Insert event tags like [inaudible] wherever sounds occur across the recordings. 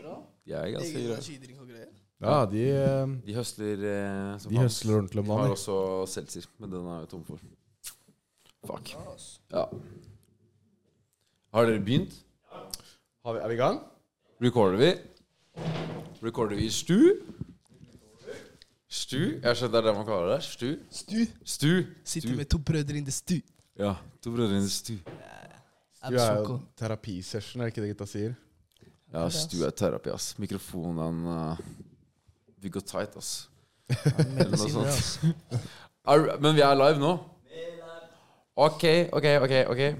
Bra. De er ganske Egen grønne. energidrikk og greier. Ja, de, eh, De høsler eh, som de faen. høsler ordentlig De om har dagen. også seltzer, men den er jo tom for. Fuck. Ja, ass. Ja. Har dere begynt? Har vi- Er vi i gang? Recorder vi? Recorder vi i stu? Stu? Jeg skjønner det er det man kaller det. Stu? Stu. Stu? Sitter Stu. med to brødre in the stu. Ja. To brødre i stu. Du er jo terapisession, er det ikke det gutta sier? Ja, stu er terapi, ass. Mikrofonen uh, Vi går tight, [laughs] ass. Eller noe sånt. Er- Men vi er live nå? Ok, ok, ok. ok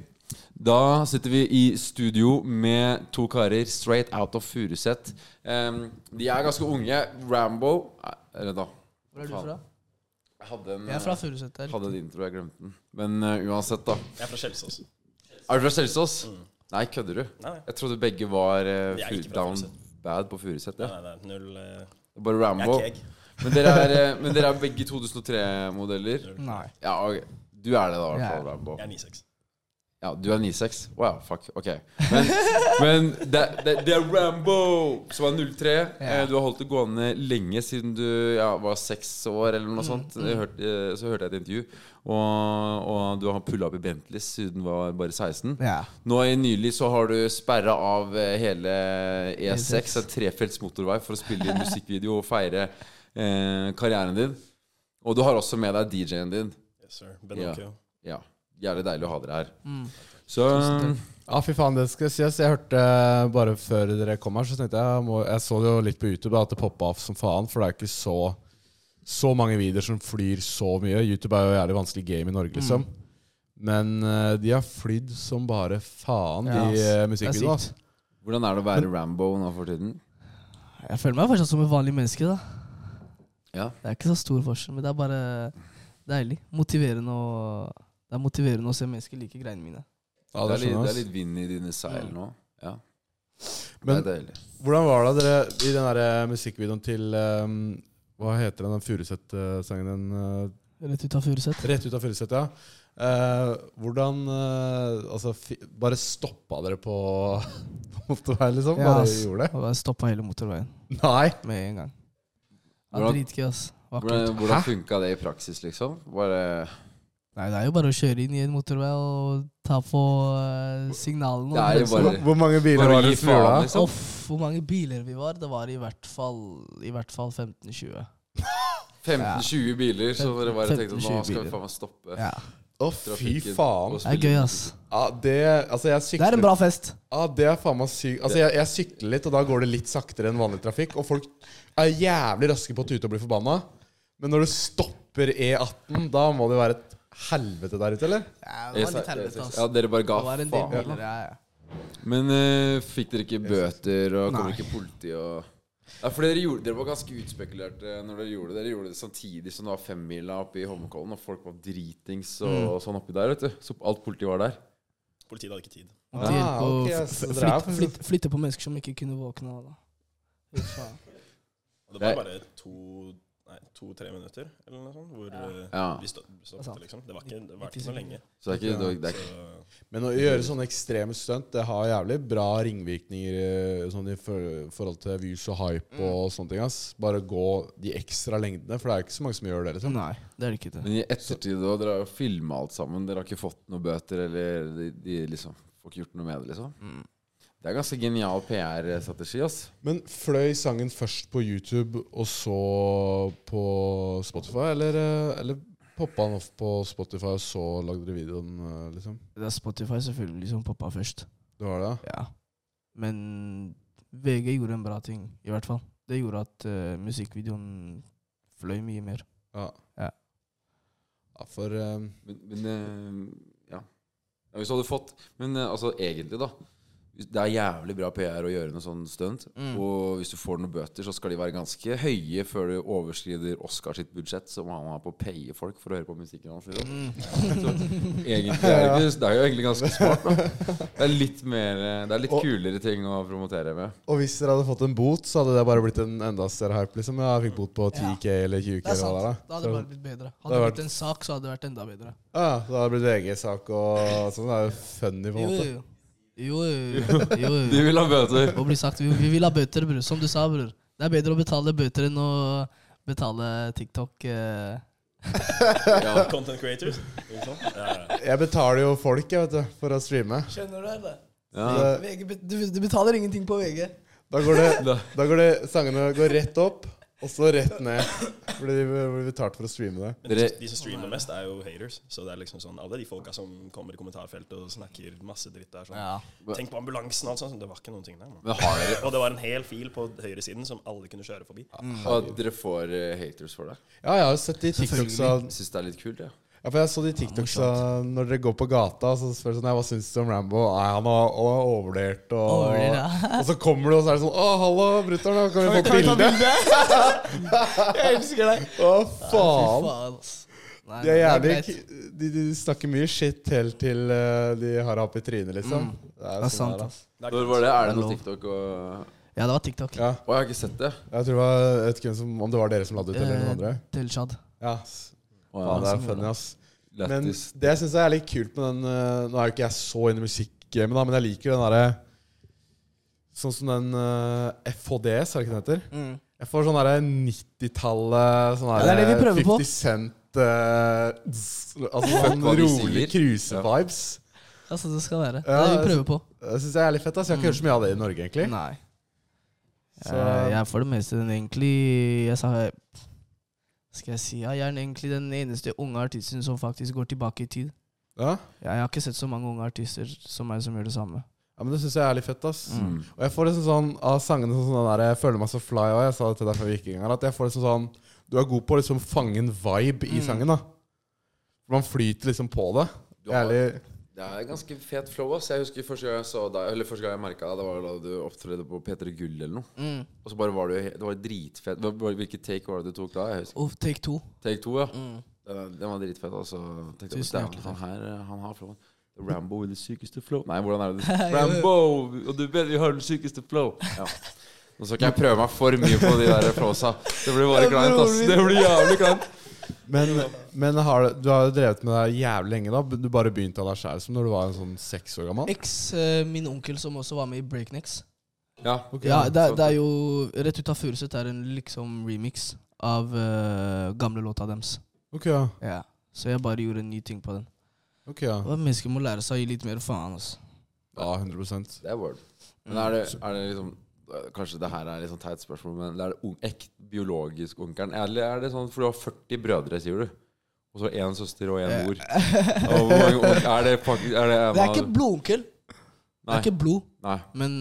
Da sitter vi i studio med to karer straight out of Furuset. Em, de er ganske unge. Rambo eh, Eller da. Hvor er du fra? Jeg hadde en, Jeg er fra Furuset. eh, der. hadde en intro, jeg glemte den. Men eh, uansett, da. Jeg er fra Kjelsås. Er du fra Kjelsås? Nei, kødder du? Nei, nei. Jeg trodde begge var eh, Jeg Mm. er fu- ikke fra down Furuset. bad på Furuset. Nei, Ja. nei, nei, null eh, Det er Bare Jeg Rambo. er ikke jeg. Men dere er, eh, men dere er begge 2003-modeller? Nei. Ja, ok. Du er det, da, i hvert Jeg er- fall, Rambo. Jeg er 96. Ja, du er 96? Wow, fuck. Ok. Men, [laughs] men det, det, det er Rambo som er 03. Ja. Eh, Du har holdt det gående lenge siden du ja, var seks år eller noe sånt. Jeg hørte- eh, så hørte jeg et intervju. Og, og du har pulla opp i Bentleys siden du var bare 16. Ja. Nå i nylig så har du sperra av eh, hele E6, E6. en trefelts motorvei, for å spille inn musikkvideo og feire eh, karrieren din. Og du har også med deg DJ-en din. Yes, sir. Benocchio. Ja, Jævlig deilig å ha dere her. Mm. Så Ja, fy faen, det skal sies. Jeg hørte eh, bare før dere kom her, så tenkte jeg må, Jeg så det jo litt på YouTube da, at det poppa av som faen, for det er ikke så Så mange videoer som flyr så mye. YouTube er jo jævlig vanskelig game i Norge, liksom. Mm. Men eh, de har flydd som bare faen, Ja, de ass. eh, Det er musikkvideoene. ass. sykt. hvordan er det å være Rambo nå for tiden? Jeg føler meg fortsatt som et vanlig menneske. da Ja. Det er ikke så stor forskjell, men det er bare deilig. Motiverende å- Det er motiverende å se mennesker like greiene mine. Ja, det, det er litt, skjønner jeg, det er ass. litt vind i dine seil nå. Ja. det Men- er deilig. Hvordan var det dere i den der eh, musikkvideoen til eh, Hva heter den, den Furuset-sangen? Den eh, Rett ut av Furuset. Rett ut av Furuset, ja. Eh, hvordan eh, Altså, fi, bare stoppa dere på [laughs] motorveien, liksom? Ja, Bare ass. gjorde det? Og jeg stoppa hele motorveien Nei! med en gang. Det Hvordan- var dritgøy, ass. Vakkert. Hvordan, hvordan funka det i praksis, liksom? Bare Nei, det er jo bare å kjøre inn i en motorvei og ta på eh, signalene. Det og er jo bremsene. bare- Hvor, hvor mange biler bare var det som gjorde det? liksom? Uff, hvor mange biler vi var? Det var i hvert fall, i hvert fall 15-20. 15-20 biler, så dere bare tenkte 15-20 nå skal vi biler. faen meg stoppe. Ja. Å, fy Trafikken. faen. Det er gøy, ass. Ja, det Altså, Det er jeg en sykler bra fest. Ja, det er faen meg sykt. Altså, jeg, jeg sykler litt, og da går det litt saktere enn vanlig trafikk. Og folk er jævlig raske på å tute og bli forbanna. Men når du stopper E18, da må det jo være et helvete der ute, eller? Ja, Jeg sa- Ja, dere bare ga Det var en del faen. biler, ja, ja. Men eh, fikk dere ikke bøter, og kom ikke politi og ja, for dere, gjorde, dere var ganske utspekulerte når dere gjorde det. Dere gjorde det samtidig som det var femmila oppe i Holmenkollen, og folk var dritings og, Mm. og sånn oppi der, vet du. Så alt politiet var der. Politiet hadde ikke tid. Det hjelper å ok, f- så flytte- dere er faktisk- flytte- Flytte på mennesker som ikke kunne våkne av. da. Fy faen. Og det Jeg- var bare to Nei, to-tre minutter eller noe sånt hvor eh, Ja. vi stå- er sant. stoppet, liksom. Det var ikke, det var Nitti ikke så lenge. Så det er ikke, det er, det er, Så Men å gjøre sånne ekstreme stunt, det har jævlig bra ringvirkninger eh, sånn i for- forhold til views og Mm. hype og sånne ting. ass. Bare gå de ekstra lengdene, for det er ikke så mange som gjør det. liksom. Sånn, Nei, det er det ikke. det. Men i ettertid da, dere har jo filma alt sammen. Dere har ikke fått noen bøter, eller de, de liksom får ikke gjort noe med det, liksom. Det er ganske genial PR-strategi, ass. Men fløy sangen først på YouTube og så på Spotify, eller, eh, eller poppa den off på Spotify, og så lagde dere videoen, eh, liksom? Det er Spotify selvfølgelig som poppa først. Det var det, ja? Ja. Men VG gjorde en bra ting, i hvert fall. Det gjorde at eh, musikkvideoen fløy mye mer. Ja. Ja. ja for eh, Men, men eh, ja. ja. Hvis du hadde fått Men eh, altså, egentlig, da. hvis- Det er jævlig bra PR å gjøre noe sånn stunt. Mm. Og hvis du får noen bøter, så skal de være ganske høye før du overskrider Oscar sitt budsjett, som han har på å paye folk for å høre på musikken hans. Liksom. Så egentlig er det, ikke, det er jo egentlig ganske smart, da. Det er litt, mer, eh, det er litt Og- kulere ting å promotere med. Og hvis dere hadde fått en bot, så hadde det bare blitt en enda større hype. liksom. Ja, jeg fikk bot på 10K eller 20K. Det er eller sant. hva det Da er, hadde det da. bare blitt bedre. Det Hadde det har vært en sak, så hadde det vært enda bedre. Ja, da hadde det blitt VG-sak og sånn. Det er jo funny, på en Jo, jo, måte. jo. Jo, jo, jo. De [laughs] vil ha bøter. Og blir sagt, vi, vi vil ha bøter, bror. Som du sa, bror. Det er bedre å betale bøter enn å betale TikTok. Eh. Ja. [laughs] Content creators. Ikke sant? Ja, ja. Jeg betaler jo folk jeg vet du, for å streame. Skjønner du det? Ja. Eh. du, betaler ingenting på VG. Da går det, Da- da går det sangene går rett opp, og så rett ned. Fordi de blir betalt for å streame det. Men de, Dere- de som streamer mest, er jo haters. Så det er liksom sånn Alle de folka som kommer i kommentarfeltet og snakker masse dritt der. Sånn. Ja. Tenk på ambulansen og alt sånt. Det var ikke noen ting der. Man. Men har dere Og det var en hel fil på høyresiden som alle kunne kjøre forbi. at dere får eh, haters for det? Ja, jeg har jo sett de TikToksa Selvfølgelig. Jeg syns det er litt kult, jeg. Ja. Ja, for jeg så de TikToksa når dere går på gata, så spør du sånn «Nei, Hva syns du om Rambo? Nei, han har han har overvurdert, og Overvurdert, Og så kommer du, og så er det sånn Å, hallo, brutter'n, kan vi få et bilde? [laughs] Jeg elsker deg. Å, Fy faen. faen, ass. Nei, De er nei, jævlig det greit. k- de, de snakker mye shit helt til eh, de har det opp i trynet, liksom. Det er Mm. sant, der, ass. Når var det? Er det Det er noe lov. TikTok og Ja, det var TikTok. Ja. Å, jeg har ikke sett det. Jeg tror det var, jeg vet ikke hvem som, om det var dere som la det ut, eller noen andre. Eh, Delshad. Ja. Å, Faen, ja. som det er gjorde funny, det. ass. Men Lættis. det jeg syns er litt kult med den eh, Nå er jo ikke jeg så inn i musikkgamet, da, men jeg liker den derre Sånn som den eh, FHDS, er det ikke den heter? Mm. Jeg får sånn derre 90-tallet sånn Ja, det er det vi derre prøver på. 50 Cent eh, [laughs] zzz, Altså Fuck sånn hva de rolig sier. cruise-vibes. Altså, det skal være. Ja, det er det vi prøver på. Det syns jeg er litt fett. ass Jeg har ikke hørt så mye av det i Norge, egentlig. Nei. Så- Eh, Jeg er for det meste den egentlig Jeg sa Skal jeg si ja, Jeg er egentlig den eneste unge artisten som faktisk går tilbake i tid. Ja, Jeg, jeg har ikke sett så mange unge artister som meg som gjør det samme. ja Men det syns jeg er litt fett, ass. Mm. Og jeg får liksom sånn av sangene sånn sånn der, Jeg føler meg så fly òg, jeg sa det til deg før vi gikk i gang her, at jeg får liksom sånn Du er god på å liksom fange en vibe i Mm. sangen, da. Man flyter liksom på det. Du har- Ærlig. Det er ganske fet flow. ass Jeg husker første gang jeg så deg Eller første gang jeg merka deg, det var da du opptredde på P3 Gull eller noe. Mm. Og så bare var du he- Det var dritfett. Hva- hva- Hvilket take var det du tok da? Jeg husker. Og take two. Take to, ja. Mm. Den den var dritfett. Altså. Tenkte, Tusen Tusen hjertelig Han takk. her, eh, han har flowen. Rambo i det sykeste flow Nei, hvordan [laughs] er det? du- Jo, jo. Rambo, og du vet vi har den sykeste flow. Ja. Nå skal ikke jeg prøve meg for mye på de der flowsa. Det blir bare kleint, ass. Det blir jævlig kleint. Men, men har, du du har jo drevet med det her jævlig lenge, da. Du bare begynte av deg sjæl som når du var en sånn seks år gammel. Eks, eh, min onkel som også var med i Breaknecks. Ja. Ja, det, er- sant. det er jo Rett ut av Furuset er en liksom remix av eh, gamle låta deres. Ok, ja. Ja. Så jeg bare gjorde en ny ting på den. Ok, ja. Og Mennesker må lære seg å gi litt mer faen. Altså. Mm. ja 100 Det er word. Men er det, er det liksom eh, Kanskje det her er litt sånn teit spørsmål, men er det un- ekte biologisk onkelen? Eller er det sånn for du har 40 brødre, sier du? Og så én søster og én [laughs] mor. Og hvor mange onk- er det faktisk er Eh. det, Det er ikke blodonkel. Det Nei. er ikke blod. Nei. Men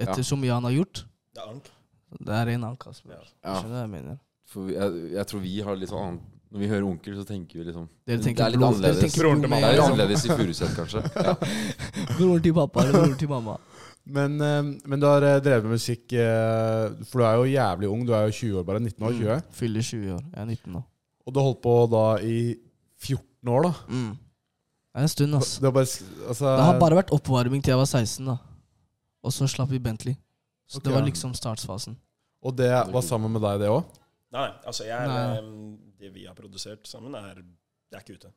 etter så mye han har gjort Det er ank. Det er en annen kasse. Ja. Ja. Skjønner du hva jeg mener? For vi- jeg, jeg tror vi har litt sånn annet Når vi hører onkel, så tenker vi liksom Dere Det tenker er litt blod- dere annerledes. tenker Broren til Det blod med er en litt gang. annerledes i Furuset, kanskje. Ja. [laughs] Broren til pappa eller broren til mamma. Men, eh, men du har eh, drevet med musikk, eh, for du er jo jævlig ung. Du er jo 20 år, bare 19 Mm. år, 20. Fyller 20 år. Jeg er 19 nå. Og du har holdt på da i 14 år, da. Mm. Det er en stund, ass. Det har bare, sk- altså, Det har bare vært oppvarming til jeg var 16, da. Og så slapp vi Bentley. Så Ok, det var ja. liksom startfasen. Og det var sammen med deg, det òg? Nei, altså jeg er, Nei. em, Det vi har produsert sammen, er Det er ikke ute.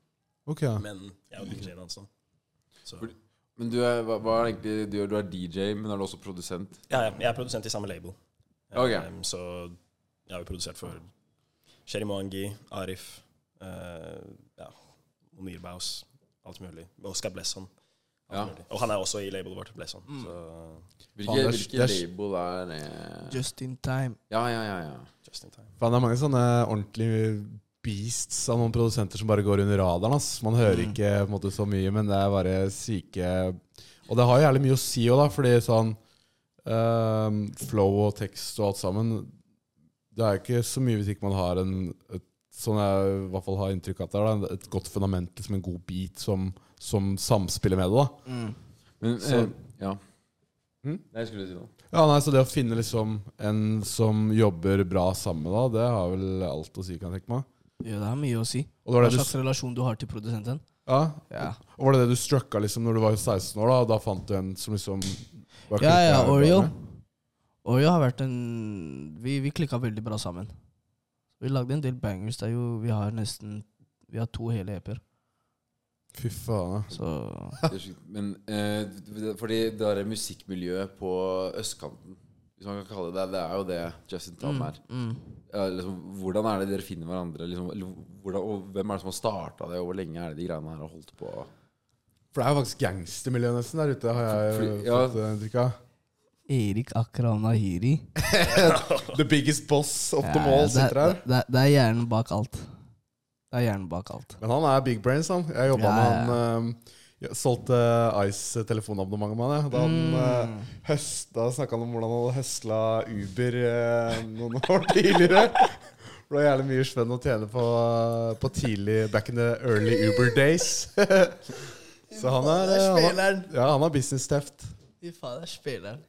Ok ja. Men jeg er jo DJ-en hans nå. Så Fordi- Men du er, hva, hva er det egentlig du gjør? Du er DJ, men er du også produsent? ja, ja, jeg er produsent i samme label. Ok. Em, så jeg har jo produsert for Sherry Moangi, Arif, eh, ja, Onir Baus, alt mulig. Oscar Blesson. alt Ja. mulig. Og han er også i labelet vårt, Blesson. Mm. Så Hvilke, Faen, det er- hvilke det er- label er det? Just in time. Ja, ja, ja. ja. just in time. Faen, det er mange sånne ordentlige beasts av noen produsenter som bare går under radaren. Ass. Man hører Mm. ikke på en måte, så mye, men det er bare syke Og det har jo jævlig mye å si òg, da, fordi sånn ehm, flow og tekst og alt sammen Det er jo ikke så mye hvis ikke man har en et, Sånn jeg i hvert fall har inntrykk av at det er da, et godt fundament, liksom en god beat som, som samspiller med det. da Mm. Men, Så- eh, ja. Hm? Nei, jeg skulle si noe. Ja, nei, Så det å finne liksom en som jobber bra sammen, da, det har vel alt å si, kan jeg tenke meg. Ja, det har mye å si. Og det Hva var det slags du, relasjon du har til produsenten. ja, Ja, og var det det du strucka liksom når du var 16 år, da? og Da fant du en som liksom var ja, ja klikket Oreo. bra med? Oreo har vært en Vi, vi klikka veldig bra sammen. Vi lagde en del bangers. Det er jo Vi har nesten Vi har to hele EP-er. Fy faen. ja. Så [laughs] Det er sjukt. Men eh, det- fordi det derre musikkmiljøet på østkanten, hvis man kan kalle det det, det er jo det Justin Tam er. mm. Ja, liksom, hvordan er det dere finner hverandre? Liksom, eller hvordan, og hvem er det som har starta det, og hvor lenge er det de greiene her har holdt på? For det er jo faktisk gangstermiljø nesten der ute, har jeg Fordi- jo fått eh, inntrykk av. Erik Akram Nahiri. The biggest boss of Ja, them all det- sitter her. det, det, det er hjernen bak alt. Det er hjernen bak alt. Men han er big brains, han. Jeg jobba Ja, med ja, han eh, jeg solgte Ice telefonabonnementet med han. jeg. Da han Mm. eh, høsta snakka han om hvordan han hadde høsla Uber eh, noen [laughs] år tidligere. Det var jævlig mye spenn å tjene på, på tidlig back in the early Uber days. [laughs] Så han er, eh, han er Ja, han har business-teft. Fy faen, det er spilleren.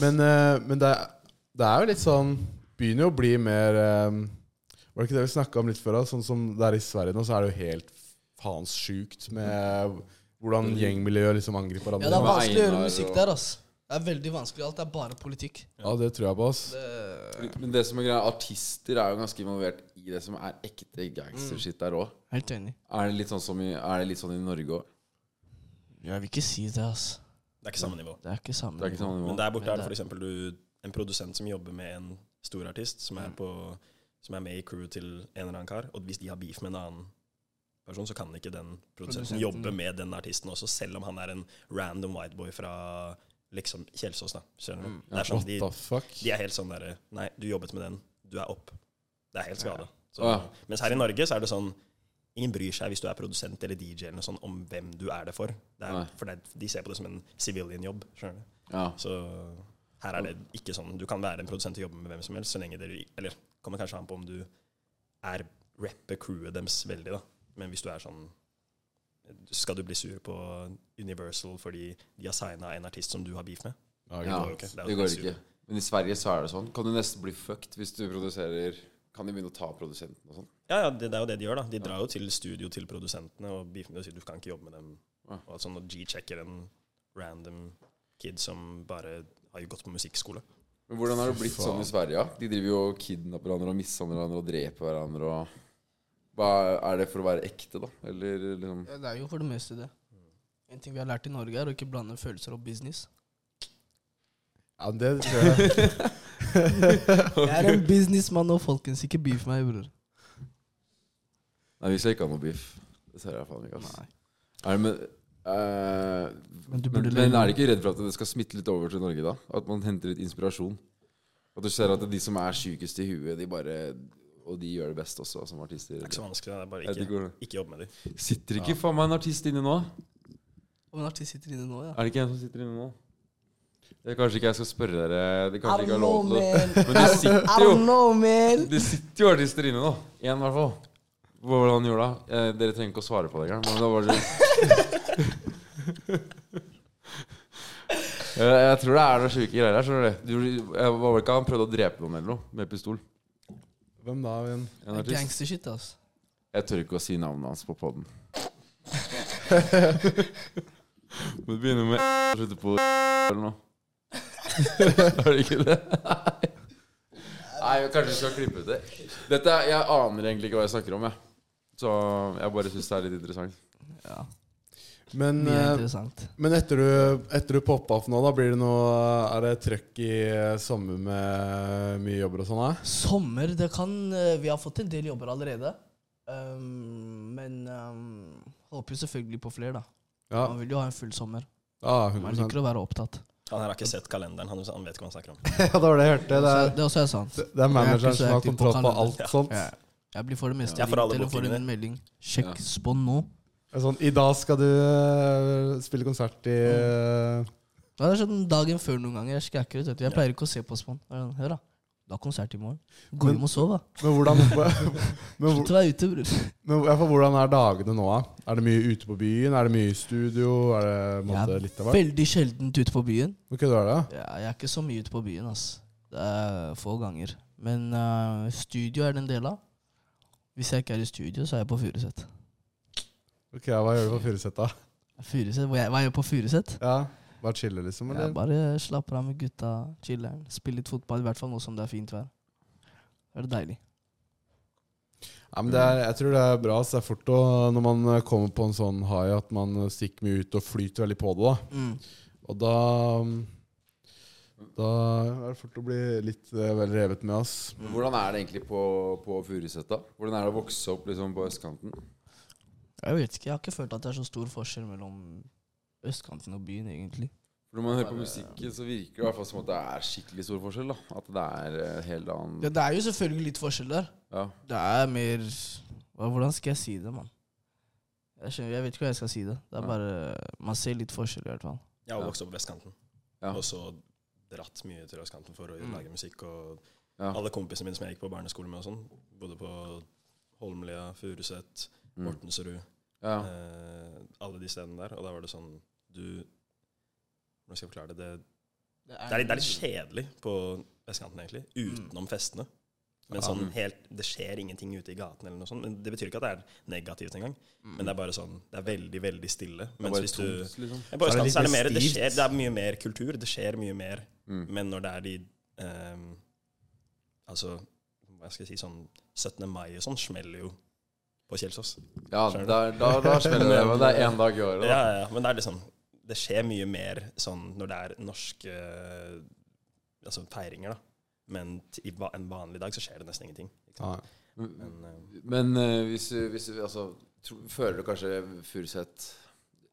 Men, eh, men det, er- det er jo litt sånn Begynner jo å bli mer eh, Var det ikke det vi snakka om litt før? da? Sånn som det er i Sverige nå, så er det jo helt faens sjukt med hvordan gjengmiljøet liksom angriper Ja, det hverandre. er Med vanskelig å gjøre Einar musikk og- der, ass. Det er veldig vanskelig. Alt er bare politikk. Ja, det tror jeg på, ass. Det... Men det som er greia, artister er jo ganske involvert i det som er ekte gangstershit der òg. Helt enig. Er det litt sånn, som i, er det litt sånn i Norge òg? Jeg vil ikke si det, ass. Det er ikke samme nivå. Det er ikke samme Det er ikke sånn Men nivå. der borte er det Men f.eks. en produsent som jobber med en stor artist, som er, på, som er med i crewet til en eller annen kar. Og hvis de har beef med en annen person, så kan ikke den produsenten Produsenten. jobbe med den artisten også, selv om han er en random white boy fra liksom Kjelsås. da, skjønner du? Mm. Det er sånn, What de, the fuck? de er helt sånn derre Nei, du jobbet med den. Du er opp. Det er helt skada. Så, Ah. Mens her i Norge så er det sånn Ingen bryr seg hvis du er produsent eller DJ eller noe sånt, om hvem du er det for. Det Nei. er, for det, er- de ser på det som en civilian jobb. skjønner du? Ja. Så her er det ikke sånn. Du kan være en produsent og jobbe med hvem som helst, så lenge dere Eller kommer kanskje an på om du er rapper crewet deres veldig, da. Men hvis du er sånn Skal du bli sur på Universal fordi de har signa en artist som du har beef med? ja. går jo ikke. Det er jo Det går helt ikke. Men i Sverige så er det sånn. Kan du nesten bli fucked hvis du produserer Kan de begynne å ta produsenten og sånn? Ja, ja, det, det er jo det de gjør, da. De drar jo til studio til produsentene og beefer med dem og sier du kan ikke jobbe med dem. Ja. Og alt sånn, og G-checker en random kid som bare har gått på musikkskole. Men hvordan har det Fy blitt faen. sånn i Sverige? ja? De driver jo og kidnapper hverandre og mishandler hverandre og dreper hverandre og Hva Er det for å være ekte, da? Eller liksom Ja, det er jo for det meste det. En ting vi har lært i Norge, er å ikke blande følelser og [laughs] business. Ja, men det tror jeg. Jeg er en businessmann nå, folkens. Ikke beef meg, bror. Nei, vi skal ikke ha noe beef. Det ser jeg faen ikke, ass. Nei. Er det, men, eh, Men du men, burde men lære- er det ikke redd for at det skal smitte litt over til Norge, da? At man henter litt inspirasjon? At du ser at de som er sjukest i huet, de bare Og de gjør det best også, som artister. Det er ikke så vanskelig, det er Ja, bare det ikke, går. ikke jobb med dem. Sitter ikke faen meg en artist inne nå? Om en artist sitter inne nå, ja. Er det ikke en som sitter inne nå? Det er kanskje ikke jeg skal spørre dere Det er kanskje ikke jeg har Arno, lov til det. man. Men det sitter jo Arno, man. Det sitter jo artister inne nå. Én, i hvert fall. Hva var det han gjorde da? Eh, dere trenger ikke å svare på det engang. Men det var så... [laughs] Eh, jeg tror det er noen sjuke greier her. skjønner du. Du, jeg var vel ikke han prøvde å drepe noen eller noe med pistol? Hvem da? Vin? En artist. Gangstershit, ass. Jeg tør ikke å si navnet hans på poden. [laughs] Må begynne med og slutte på eller noe. [laughs] Er det ikke det? Nei, jeg kanskje vi skal klippe ut det. Dette, er- Jeg aner egentlig ikke hva jeg snakker om, jeg. Så jeg bare syns det er litt interessant. Ja, Men, mye eh, interessant. men etter du, etter du poppa opp nå, da blir det noe Er det trøkk i eh, sommer med mye jobber og sånn? da? Sommer, det kan eh, Vi har fått en del jobber allerede. Um, men um, håper jo selvfølgelig på flere, da. Ja, Man vil jo ha en full sommer. ja Man 100 liker å være opptatt. Han her har ikke sett kalenderen, han, han vet ikke hva han snakker om. [laughs] Ja, det var det jeg hørte. Det Det er, er, det er også er sant. det er manageren som har aktiv på kontroll på kalender. alt Ja. sånt. Ja. Jeg blir for det meste Ja, for alle ringt eller får bookingene. en melding. Sjekk Ja. spon nå. Det er Sånn, I dag skal du øh, spille konsert i øh, Det er sånn dagen før noen ganger. Jeg skrekker ut. vet du. Jeg pleier ikke å se på spon. Jeg er sånn, Hør, da. Du har konsert i morgen. Gå Men- hjem og sov, da. Men hvordan [laughs] men, hvor- Slutt å være ute, bror. [laughs] men, ja, for hvordan er dagene nå, da? Er det mye ute på byen? Er det mye i studio? Er det på en måte, Jeg litt av er hvert? veldig sjeldent ute på byen. Ok, du er det? ja? Ja, jeg er ikke så mye ute på byen, ass. Det er få ganger. Men eh, studio er det en del av. Hvis jeg ikke er i studio, så er jeg på Furuset. Ok, ja, Hva gjør du på Furuset, da? Furuset, Hva jeg- hva jeg gjør på Furuset? Ja, Bare chille, liksom? Jeg Eller? bare slapper av med gutta, chiller'n, spiller litt fotball. I hvert fall nå som det er fint vær. Da Er det deilig. Ja, men det er, jeg tror det er bra. Så det er fort å, når man kommer på en sånn high, at man stikker mye ut og flyter veldig på det. da Mm. Og da mm, Da er det fort å bli litt eh, vel revet med, ass. Men Hvordan er det egentlig på, på Furuset, da? Hvordan er det å vokse opp liksom på østkanten? Jeg vet ikke, jeg har ikke følt at det er så stor forskjell mellom østkanten og byen, egentlig. For Når man hører på musikken, så virker det i hvert fall som at det er skikkelig stor forskjell. da At det er eh, helt Ja, annen det er jo selvfølgelig litt forskjell der. Ja. Det er mer hva, Hvordan skal jeg si det, mann? Jeg, skjønner- jeg vet ikke hva jeg skal si det. Det er Ja. bare Man ser litt forskjell, i hvert fall. Jeg har Ja. vokst opp på vestkanten, Ja. og så dratt mye til østkanten for å Mm. lage musikk. Og Ja. alle kompisene mine som jeg gikk på barneskole med, og sånn, bodde på Holmlia, Furuset, Mm. Mortensrud, Ja. eh, alle de stedene der. Og da var det sånn Du Hvordan skal jeg forklare det? Det, det, er, litt- det er litt kjedelig på vestkanten, egentlig. Utenom festene. Mm. Ja. Men sånn helt, Det skjer ingenting ute i gaten, eller noe sånt. Men det betyr ikke at det er negativt engang. Men det er bare sånn Det er veldig, veldig stille. Mm. Det er Mens bare hvis du tomt, liksom. Så er men på det Østlandet så er det, litt mer, det, stivt. skjer, det er mye mer kultur, det skjer mye mer. Mm. Men når det er de ehm, Altså, hva skal jeg si, sånn 17. mai og sånn smeller jo på Kjelsås. Ja, da, da, da smeller det. men Det er én dag i året. Ja, da. ja, ja, men det er liksom Det skjer mye mer sånn når det er norske Altså feiringer, da. Men t- i va- en vanlig dag så skjer det nesten ingenting. ikke sant? Ja. Men- Men, ehm, Men eh, hvis, du- hvis du altså, tro, Føler du kanskje Furuset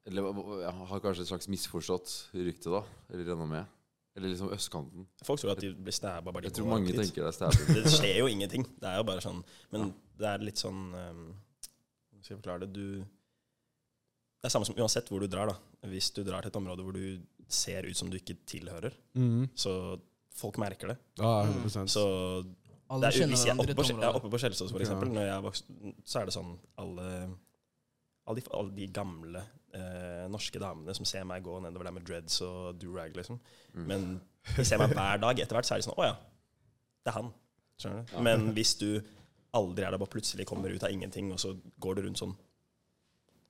Eller hva- ja, har kanskje et slags misforstått rykte, da? Eller renommé? Eller liksom østkanten? folk tror at de blir snæba bare de Jeg tror går mange dit. tenker det er stabbing. Det skjer jo ingenting. Det er jo bare sånn Men det er litt sånn um, Hvordan skal jeg forklare det? Du Det er samme som uansett hvor du drar, da. Hvis du drar til et område hvor du ser ut som du ikke tilhører, Mhm. så folk merker det. Ja, 100 Mm. Så det Alle er, jo- kjenner hvis jeg hverandre i er oppe et på, Skje- ja, område. oppe på Kjelsås, for Ja. eksempel, når jeg er vokst, så er det sånn alle alle de, alle de gamle eh, norske damene som ser meg gå nedover der med dreads og do-rag, liksom. Mm. Men de ser meg hver dag. Etter hvert så er de sånn Å ja, det er han. Skjønner du? Ja. Men hvis du aldri er der, bare plutselig kommer ut av ingenting, og så går du rundt sånn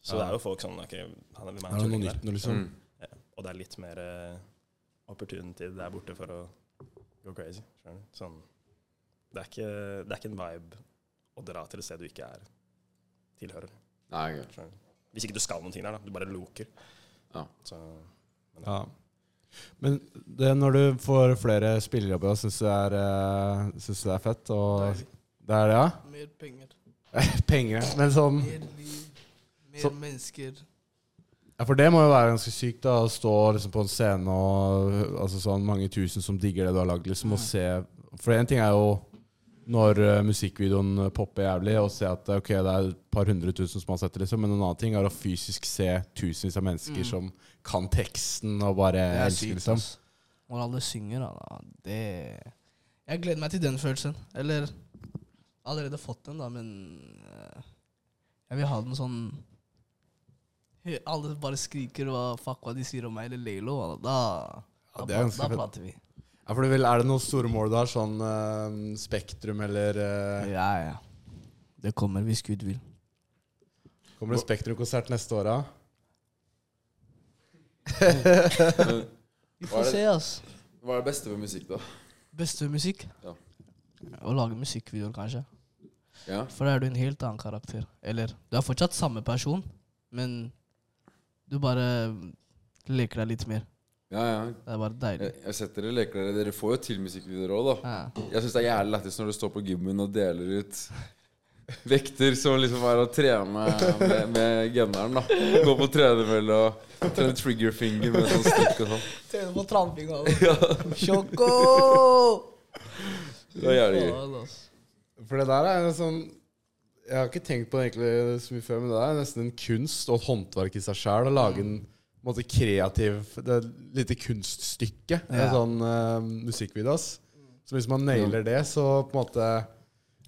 Så det Ja. er jo folk sånn OK, han er, hvem er Er det han noe tullingen nytt nå, liksom? Mm. der? Og det er litt mer eh, opportunity der borte for å go crazy. Skjønner du? Sånn Det er ikke, det er ikke en vibe å dra til et sted du ikke er tilhører. Nei, ok. Skjønner du? Hvis ikke du skal noen ting der, da. Du bare loker. Ja. Så Ja. Men det når du får flere spillejobber, syns du det er, eh, synes du det er fett? Og Deilig. det er det, ja? Mer penger, Penger. Men sånn mer liv, mer Så- mennesker. Ja, For det må jo være ganske sykt da, å stå liksom, på en scene og altså, sånn, mange tusen som digger det du har lagd, liksom, og Mm. se For én ting er jo når eh, musikkvideoen popper jævlig, og se at ok, det er et par hundre tusen som har sett det, liksom, men en annen ting er å fysisk se tusenvis av mennesker som kan teksten og bare Mm. Det er elsker, sykt, liksom. ass. Når alle synger, da. da, Det Jeg gleder meg til den følelsen. Eller allerede fått den, da, men eh, Jeg vil ha den sånn Hø- Alle bare skriker hva fuck hva de sier om meg eller Laylo. Da, Ja, da, det er da, ganske fett. prater vi. Ja, for det vil, er det noen store mål du har, sånn eh, Spektrum eller eh, Ja, ja. Det kommer hvis Gud vil. Kommer det Spektrum-konsert neste år, da? Vi Hva får er det- se, ass. Hva er det beste med musikk, da? Beste musikk? Ja. Å lage musikkvideoer, kanskje. Ja, For da er du en helt annen karakter. Eller du er fortsatt samme person, men du bare leker deg litt mer. ja. ja. Det er bare deilig. Jeg, jeg setter dere leker dere. Dere får jo til musikkvideoer òg, da. Ja. Jeg syns det er jævlig lættis når du står på gymmen og deler ut vekter som liksom er å trene med, med genneren, da. Gå på tredemølle og trene trigger finger med sånn stikk og sånn. Trener på tramping og [laughs] Ja, Sjoko! det er jævlig gøy. For det der er en sånn Jeg har ikke tenkt på det egentlig så mye før, men det der er nesten en kunst og et håndverk i seg sjæl. Å lage en, på en måte kreativ Det er et lite kunststykke. En Ja. sånn eh, musikkvideo. ass. Så hvis man nailer det, så på en måte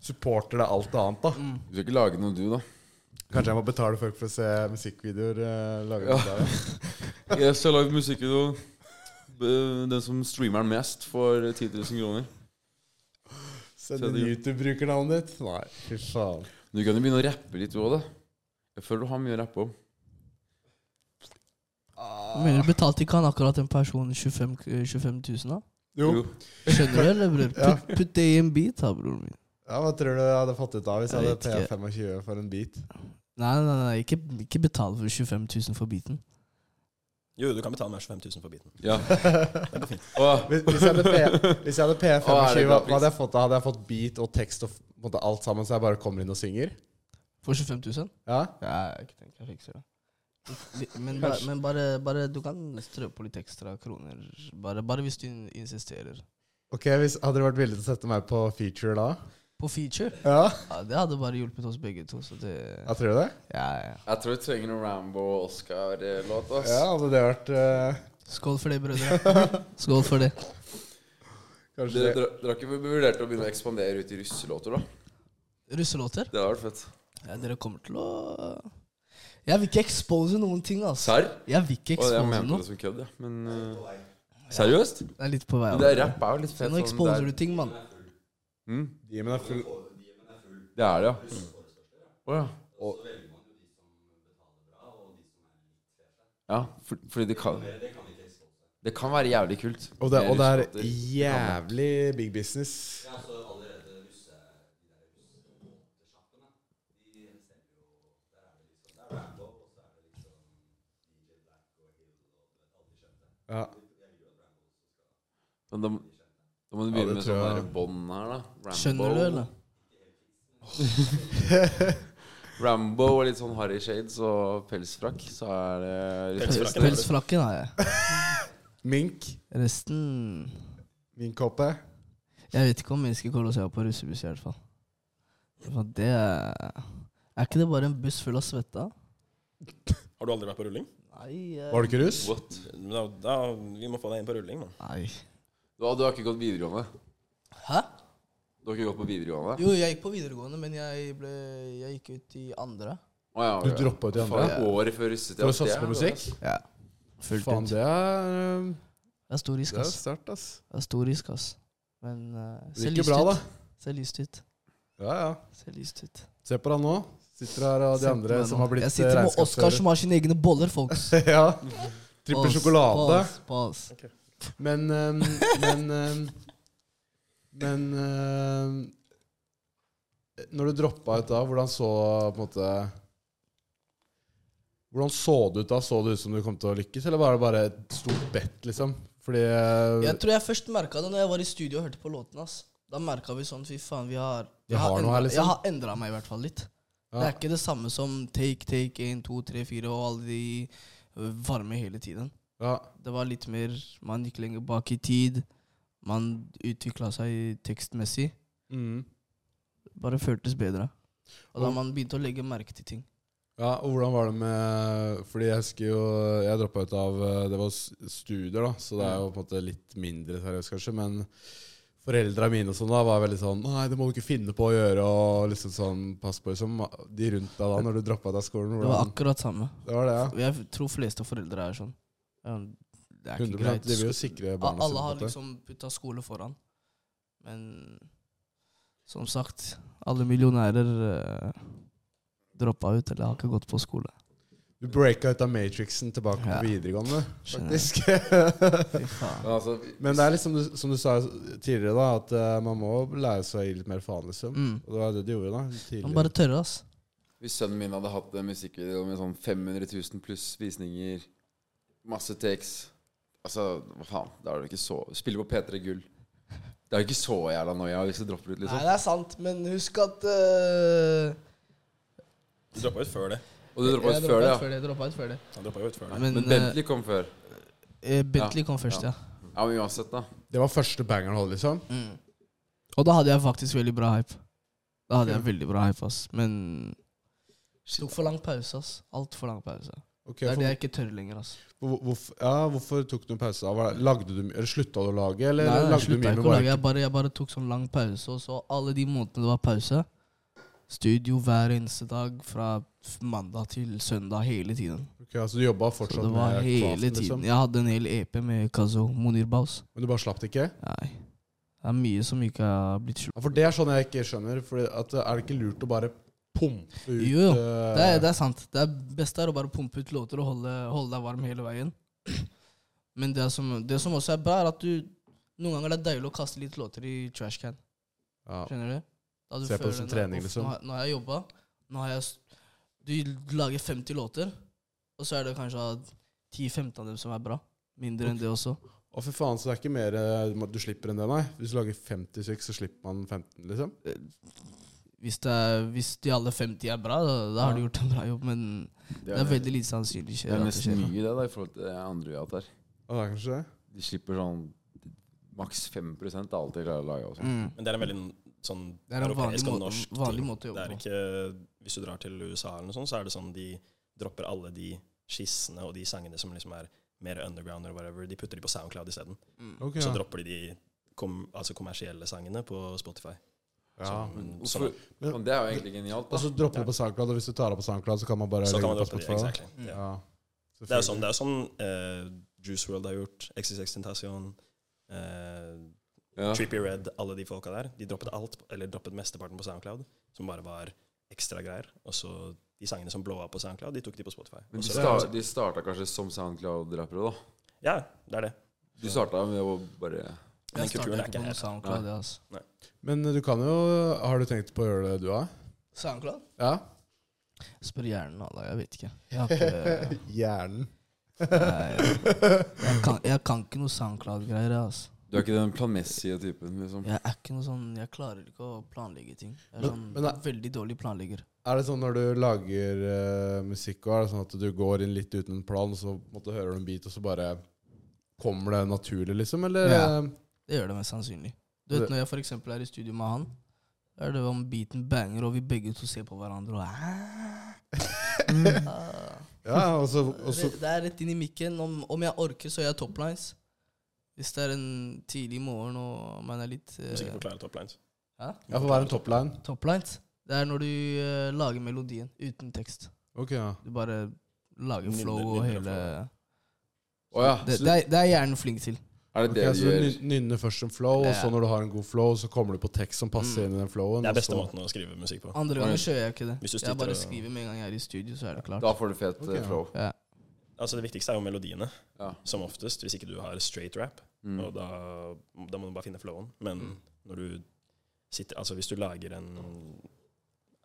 supporter det alt annet. da Du skal ikke lage noe, du, da. Kanskje jeg må betale folk for å se musikkvideoer eh, laget av [laughs] deg. Jeg skal lage musikkvideo. B- Den som streamer den mest, får 10 000 kroner. Send Se inn det. YouTube-brukernavnet ditt. Nei, fy faen. Du kan jo begynne å rappe litt, du òg, da. Jeg føler du har mye å rappe om. Mener du betalte ikke han akkurat en person 25, k- 25 000, da? Jo. Jo. Skjønner du, eller, bror? Ja. [laughs] Putt, putt det i en bit, da, broren min. [laughs] Ja, Hva tror du jeg hadde fått ut av hvis jeg Jeg hadde vet ikke. P25 for en bit? [laughs] Nei, nei, nei, ikke, ikke betal for 25 000 for biten. Jo, du kan betale meg 25 000 for biten. Ja. Det går fint. Åh, Hvis, hvis jeg hadde P- hvis jeg hadde P25, Å, er det bra hva hva hadde jeg fått da? Hadde jeg fått beat og tekst og f- på en måte alt sammen, så jeg bare kommer inn og synger? For 25 000? Ja? Ja, jeg ikke tenker jeg fikser det. Litt- Men, bare, men bare, bare du kan strø på litt ekstra kroner. Bare, bare hvis du in- insisterer. Ok, hvis, Hadde du vært villig til å sette meg på feature da? På feature? Ja? Ja, det hadde bare hjulpet oss begge to. Så det Jeg tror det. ja, ja. jeg tror vi trenger noen Rambo-Oscar-låt. ass. Ja, Hadde det vært eh, Skål for det, brødre. [laughs] Skål for det. Kanskje Dere, det. dere, dere har ikke vurdert å begynne å ekspandere ut i russelåter, da? Russelåter? Det hadde vært fett. Ja, dere kommer til å Jeg vil ikke expose noen ting, altså. Serr? Jeg vil ikke Og jeg expose mente noe. det som kødd, ja. Men eh, seriøst? Det er litt på vei. Men av. Det er rapp er jo litt fett. Nå sånn exposer der- du ting, mann. Mm, Demon er full det er det, ja. Å ja. Og- Ja, for, fordi det kan Det kan være jævlig kult. Og det, med og det er russelåter. jævlig big business. Ja, Men da, må- da må du Ja, begynne det med tror sånn jeg. der bånd her, da. Rambo. Skjønner du, eller? Rambo og litt sånn Harry Shades og pelsfrakk, så er det Pelsfrakk. Pelsfrakken. Pelsfrakken har jeg. Mink. Resten Minkhoppe. Jeg vet ikke om mennesker kommer til å se meg på russebuss, i hvert fall. For det er Er ikke det bare en buss full av svetta? Har du aldri vært på rulling? Nei. eh, Var det ikke russ? What? Da, da, vi må få deg inn på rulling, mann. Nei. Du, har- du har ikke gått videregående? Hæ? Du har ikke gått på videregående? Jo, jeg gikk på videregående, men jeg, ble, jeg gikk ut i andre. Å, ja, Du ja. droppa ut i andre? Faen, Året før altså. russetida. For å det satse er på det, musikk? ass. Ja. Fullt Faen, ut. det er um, Det er stor risk, Det er ass. sterkt, ass. Det er stor risk, ass. Men eh, Det ser gikk jo lyst bra, da. ut. Ser lyst ut. Ja, ja. Ser lyst ut. Se på deg nå. Sitter her og de Sendte andre meg som nå. har blitt eh, Jeg sitter med Oskar regnskapsfører. som har sine egne boller, folks. [laughs] ja. Trippel Pause, sjokolade. pause, pause. Men um, Men um, Men um, Når du droppa ut da, hvordan så på en måte Hvordan så det ut da? Så det ut som du kom til å lykkes, eller var det bare et stort bet, liksom? Fordi Jeg tror jeg først merka det når jeg var i studio og hørte på låten. ass. Da merka vi sånn Fy faen, vi har Vi har noe her, endra- liksom. Jeg har endra meg i hvert fall litt. Det Ja. er ikke det samme som take, take, 1, 2, 3, 4 og alle de ø, varme hele tiden. ja. Det var litt mer Man gikk lenger bak i tid. Man utvikla seg tekstmessig. Mm. Bare føltes bedre. Og da Og- man begynte å legge merke til ting. Ja, og hvordan var det med Fordi jeg husker jo Jeg droppa ut av eh, Det var s- studier, da, så det er jo på en måte litt mindre seriøst, kanskje. Men foreldra mine og sånn da var veldig sånn Nei, det må du ikke finne på å gjøre. Og liksom sånn Pass på, liksom. De rundt deg da, når du droppa ut av skolen. Det var Hvordan, akkurat samme. det var det, ja. Og Jeg tror fleste foreldre er sånn. Ja, Det er ikke 100 greit. De vil jo sikre Ja, barna Alle sine. har på en måte. liksom putta skole foran. Men som sagt, alle millionærer eh, droppa ut eller har ikke gått på skole. Du breaka ut av Matrixen tilbake Ja. på videregående, Skjønner. faktisk. [laughs] Fy faen. Men altså, Men det er liksom du- som du sa tidligere, da, at eh, man må lære seg å gi litt mer faen, liksom. Mm. Og det var det de gjorde, da. Man Tidligere. bare tørre, ass. Hvis sønnen min hadde hatt en musikkvideo med sånn 500 000 pluss visninger, masse takes Altså, hva faen? Da er det ikke så Spille på P3 Gull. Det er jo ikke så jævla noia hvis du dropper ut, liksom. det er sant, men husk at eh, Du droppa ut før det. Og du droppa jeg ut før det, ut ja. før det. jeg droppet ut før det. Han droppa jo ut før det. Men, Men eh, Bentley, Bentley kom før. Bentley kom først, ja. ja. Ja, men uansett, da. Det var første bangeren holdt, liksom? Mm. Og da hadde jeg faktisk veldig bra hype. Da hadde jeg veldig bra hype, ass. Men tok for lang pause, ass. Altfor lang pause. Ok, Det er for, det jeg ikke tør lenger, ass. hvor, hvorfor- ja, hvorfor tok du en pause? da? Var det- Lagde du, eller slutta du å lage, eller Nei, jeg lagde du slutta mye ikke med å lage. bare Jeg bare, jeg bare tok sånn lang pause, og så alle de månedene det var pause Studio hver eneste dag fra f- mandag til søndag hele tiden. Ok, altså Du jobba Så fortsatt det var med hele craften, tiden. liksom? Jeg hadde en hel EP med Kazo Monir Baus. Men du bare slapp det ikke? Nei. Det er mye som ikke har blitt slutt. Ja, for det er sånn jeg ikke skjønner. Fordi at, er det ikke lurt å bare pumpe ut Jo, jo. eh, Det, er- det er sant. Det er beste er å bare pumpe ut låter og holde, holde deg varm hele veien. Men det som, det som også er bra, er at du Noen ganger det er deilig å kaste litt låter i trashcan. ja. Skjønner du? Da du Se på det føler som når- trening, uff, liksom. Nå har, nå har jeg jobba. Nå har jeg s- Du lager 50 låter, og så er det kanskje av 10-15 av dem som er bra. Mindre enn det også. Å, fy faen, så det er ikke mer eh, du slipper enn det, nei? Hvis du lager 50 stykker, så slipper man 15, liksom? Hvis, det er, hvis de alle 50 er bra, da, da har du gjort en bra jobb, men det er veldig lite sannsynlig skjer Det er at det nesten skjer. mye det da i forhold til det andre vi har hatt her. Ja, det er kanskje det? De slipper sånn maks 5 av alt de klarer å lage. og sånn. Mm. Men det er en veldig sånn Det er en vanlig europeisk og måte, norsk ting. vanlig måte å Det jobbe er på. ikke, Hvis du drar til USA, eller noe sånt, så er det sånn de dropper alle de skissene og de sangene som liksom er mer underground, eller whatever, de putter de på SoundCloud isteden. Mm. Ok, Så ja. dropper de de kom, altså kommersielle sangene på Spotify. ja. Som- Hvorfor- Men det er jo egentlig genialt. Og da så dropper du på SoundCloud, og hvis du tar av på SoundCloud, så kan man bare så kan legge man det på droppe de. Spotify? da? Exactly. Mm. Ja. Ja. Det er jo sånn, det er jo sånn eh, Juice World har gjort, XXX Tentacion, eh, Ja. Trippy Red, alle de folka der. De droppet alt, eller droppet mesteparten på SoundCloud, som bare var ekstra greier. Og så de sangene som blåa på SoundCloud, de tok de på Spotify. Men Og de, så- sta- de starta kanskje som Soundcloud-rappere, da. Ja, det er det. Du starta med å bare Men Jeg den kulturen starter er ikke ikke på noe her. SoundCloud, det, altså. Men du kan jo Har du tenkt på å gjøre det, du òg? SoundCloud? Ja? Spør hjernen, alle. Jeg vet ikke. Jeg [laughs] har ikke Hjernen. Nei, jeg, kan, jeg kan ikke noe SoundCloud-greier. Altså. Du er ikke den planmessige typen, liksom. Jeg er ikke noe sånn Jeg klarer ikke å planlegge ting. Jeg er Men- sånn men det- veldig dårlig planlegger. [laughs] Er det sånn når du lager eh, musikk, og er det sånn at du går inn litt uten en plan, og så på en måte, hører du en beat, og så bare kommer det naturlig, liksom? Eller Ja. eh, Det gjør det mest sannsynlig. Du vet Det- Når jeg for eksempel er i studio med han, da er det om beaten banger, og vi begge to ser på [laughs] hverandre og "Hæ?" Ah. Ja, og så, og så det, det er rett inn i mikken. Om, om jeg orker, så gjør jeg toplines. Hvis det er en tidlig morgen og man er litt eh, Må sikkert forklare toplines. Hæ? Ja, for hva er en topline? Toplines? Det er når du eh, lager melodien uten tekst. Ok, ja. Du bare lager Nynner- flow og nynner hele Å ja. det, det, er, det er hjernen flink til. Er det Ok, det du så gjør? nyn- nynner først som flow, og så Ja. når du har en god flow, så kommer du på tekst som passer Mm. inn i den flowen. Det er og beste så- måten å skrive musikk på. Andre ganger gjør jeg ikke det. Hvis du Jeg bare sitter og- skriver med en gang jeg er i studio, så er det klart. Da får du fet eh, Ok. flow. Ja. Altså Det viktigste er jo melodiene, Ja. som oftest, hvis ikke du har straight rap. Mm. Og da, da må du bare finne flowen. Men Mm. når du sitter Altså hvis du lager en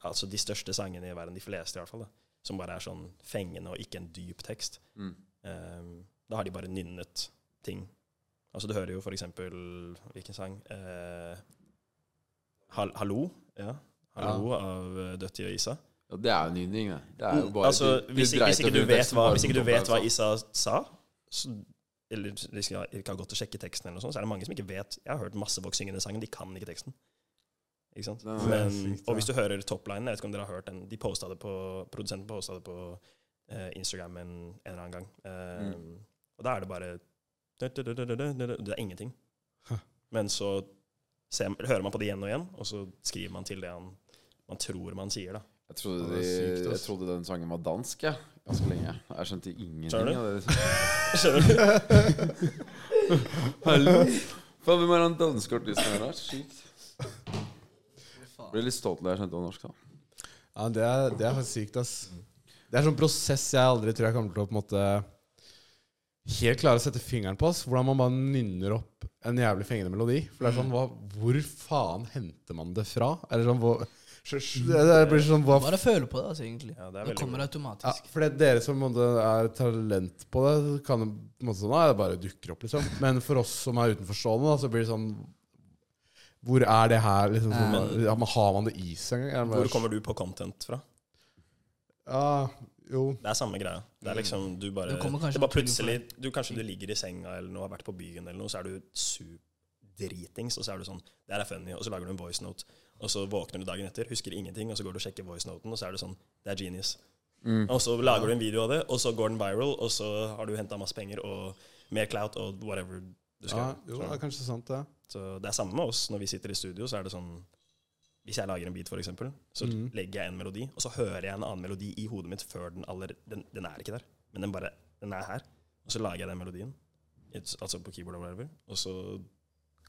Altså de største sangene i verden, de fleste i hvert fall, da, som bare er sånn fengende og ikke en dyp tekst, Mm. ehm, da har de bare nynnet ting. Altså du hører jo for eksempel Hvilken sang? Eh, Hal Hallo? Ja. Hallo av eh, Dødt og Isa. ja, det er jo nynning, det. Det er jo Mm, bare altså, du- du hvis, dreit hvis, ikke opp du i vet teksten hva, bare altså. hvis som ikke du vet hva toppline, Isa sa, så, eller hvis jeg ikke har gått og sjekket teksten, eller noe sånt, så er det mange som ikke vet Jeg har hørt masse folk synge den sangen, de kan ikke teksten. Ikke sant? Det er Men, sykt, ja. og hvis du hører toplinen, jeg vet ikke om dere har hørt den, de postet det på, produsenten posta det på eh, Instagram en, en eller annen gang. Eh, Og da er det bare Det er ingenting. Huh. Men så ser, hører man på det igjen og igjen, og så skriver man til det han, man tror man sier, [laughs] da. Jeg trodde, Ja, det er de- sykt, ass. jeg trodde den sangen var dansk, jeg. Ganske lenge. Jeg skjønte Skjønner ingenting du? av det. Skjønner du? Hallo? Faen, Hvem er han danske artisten her? da? Sykt. Jeg Ble litt stolt da jeg skjønte det var norsk. da Ja, det er, det er faktisk sykt, ass. Det er sånn prosess jeg aldri tror jeg kommer til å på en måte helt klare å sette fingeren på. ass Hvordan man bare nynner opp en jævlig fengende melodi. For det er sånn, hva, Hvor faen henter man det fra? Eller sånn, hvor, det det blir sånn hva, Bare føle på det, altså, egentlig. Ja, det det, er veldig kommer bra. ja, automatisk. For det, dere som på en måte er talent på det, kan jo på en måte sånn, nei, det bare dukker opp. liksom Men for oss som er utenforstående, da, så blir det sånn Hvor er det her? liksom sånn, ja, men Har man det i seg engang? Hvor kommer du på content fra? Ja, jo Det er samme greia. Det er liksom, du bare, Det det kommer kanskje bare naturlig plutselig du, Kanskje du ligger i senga eller noe, har vært på byen eller noe, så er du su- dritings, og så er du sånn Det her er funny, og så lager du en voice note. Og så våkner du dagen etter, husker ingenting, og så går du og sjekker voice noten, og så er du sånn Det er genius. Mm. Og så lager du en video av det, og så går den viral, og så har du henta masse penger og mer clout og whatever du skal Ja, gjøre. jo, det er kanskje sant, det. Så det er samme med oss når vi sitter i studio, så er det sånn Hvis jeg lager en beat, for eksempel, så Mhm. legger jeg en melodi, og så hører jeg en annen melodi i hodet mitt før den aller Den, den er ikke der, men den bare Den er her. Og så lager jeg den melodien, It's, altså på keyboard og whatever, og så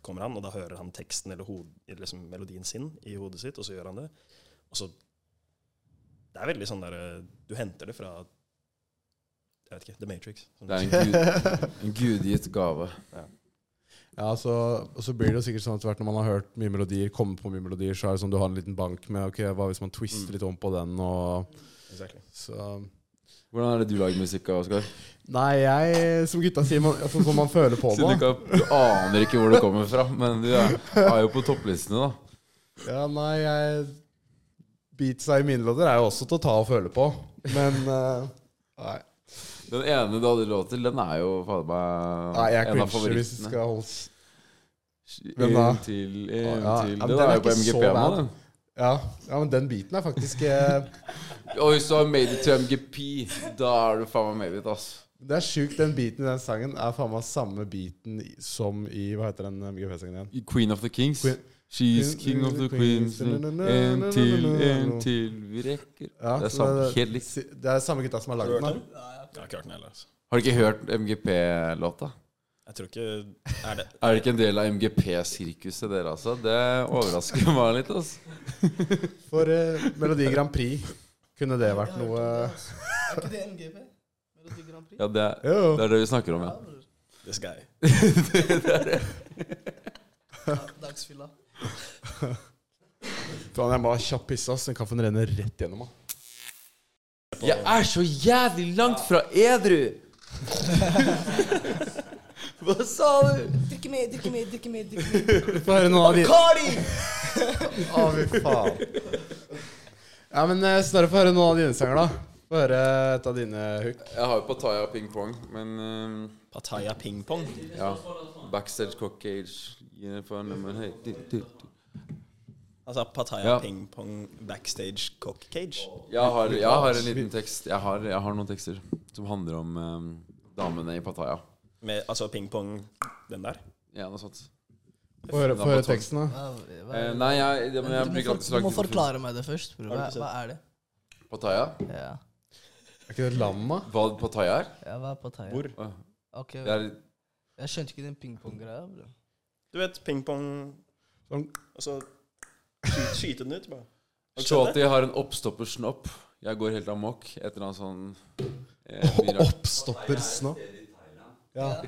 kommer han, og da hører han teksten eller hod, eller liksom melodien sin i hodet sitt, og så gjør han det. Og så Det er veldig sånn derre Du henter det fra jeg vet ikke, The Matrix. Det er en, gud, en gudgitt gave. Ja, så, og så blir det jo sikkert sånn etter hvert når man har hørt mye melodier, kommer på mye melodier, så er det sånn du har en liten bank med Ok, hva hvis man twister litt om på den, og Exactly. så Hvordan er det du lager musikk av, Oskar? Nei, jeg Som gutta sier, man, altså, som man [laughs] føler på Siden du, meg. ikke, har- du aner ikke hvor det kommer fra, men du er, er jo på topplistene, da. Ja, nei, jeg Beatsa i mine låter er jo også til å ta og føle på, men eh, nei. Den ene du hadde låt til, den er jo fader nei, meg jeg crincher hvis det skal holdes Hvem da? Inntil, ja. inntil Ja, men Den, den er er jo på ikke så MGP nå, bad. den. ja, ja, men den biten er faktisk eh, Og hvis du har made it to MGP, da er du faen meg made it, ass. Det er sjukt, den biten i den sangen er faen meg samme biten i- som i Hva heter den eh, MGP-sangen igjen? Queen of the Kings. Queen- She's Queen- king of the Queens. queens. Inntil, inntil vi rekker Ja, Det er så samme, det- helt likt. si- Det er samme gutta som har Har du lagd den. hørt den? Jeg har ikke hørt den heller. Altså. Har du ikke hørt MGP-låta? Jeg tror ikke Er det Er det ikke en del av MGP-sirkuset, dere altså? Det overrasker [laughs] meg litt. ass da. For eh, Melodi Grand Prix kunne det vært noe Er ikke det MGP? Melodi Grand Prix? Ja, det er, Jo. det er det vi snakker om, ja. bror. This guy. Da- Dagsfylla. Faen, jeg må ha kjapp pisse, ass. Den kaffen renner rett gjennom meg. Jeg er så jævlig langt fra edru! Hva sa du? Drikke mer, drikke mer, drikke mer. drikke mer. [laughs] Få høre noen av de Kari! Å, fy faen. Ja, men eh, Snorre, få høre noen av dine sanger, da. Få høre et av dine hook. Jeg har jo Pattaya ping pong, men ehm, Pattaya Ping Pong. ja. Backstage cockage yeah, for nummer høy. Du, du, du. Altså Pattaya Ja. Ping Pong backstage cock cage. Jeg har, jeg har en liten tekst. Jeg har, jeg har noen tekster som handler om ehm, damene i Pattaya. Med, altså ping pong den der. Ja, noe sånt. Få høre, få høre teksten, da. Hva- hva Eh, er det? nei, jeg, det, men jeg Du må bruker alltid for- så Du lang må tid på å finne- forklare meg det først, bror. Har du Hva, ikke sett? hva er det? Pattaya? Ja, Er ikke det lamma? Hva Pattaya er? ja hva er Pattaya? Hvor? Åh, Ok, Det er Jeg skjønte ikke den pingpong-greia, bror. Du vet ping pong Sånn. Og så skyte, skyte den ut, bare. Har du ikke sett det? Shorty har en oppstoppersnopp. Jeg går helt amok. Et eller annet sånn eh, mye rart. Oppstopper snå. Ja.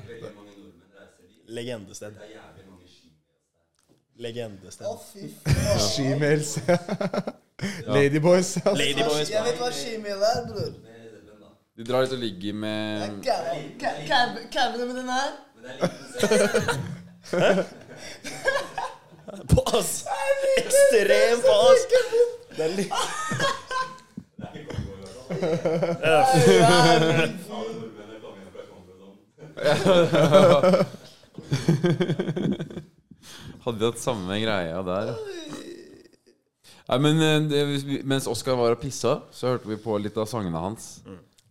Legendested. Legendested. [laughs] Shemales. Ladyboys. ass. Ladyboys. Jeg vet hva shemale er, bror. De drar ut og ligger med Kævene med den her. Pass! Ekstrem pass! Det er litt Hadde de hatt samme greia der? Nei, men eh, det, Mens Oskar var og pissa, så hørte vi på litt av sangene hans.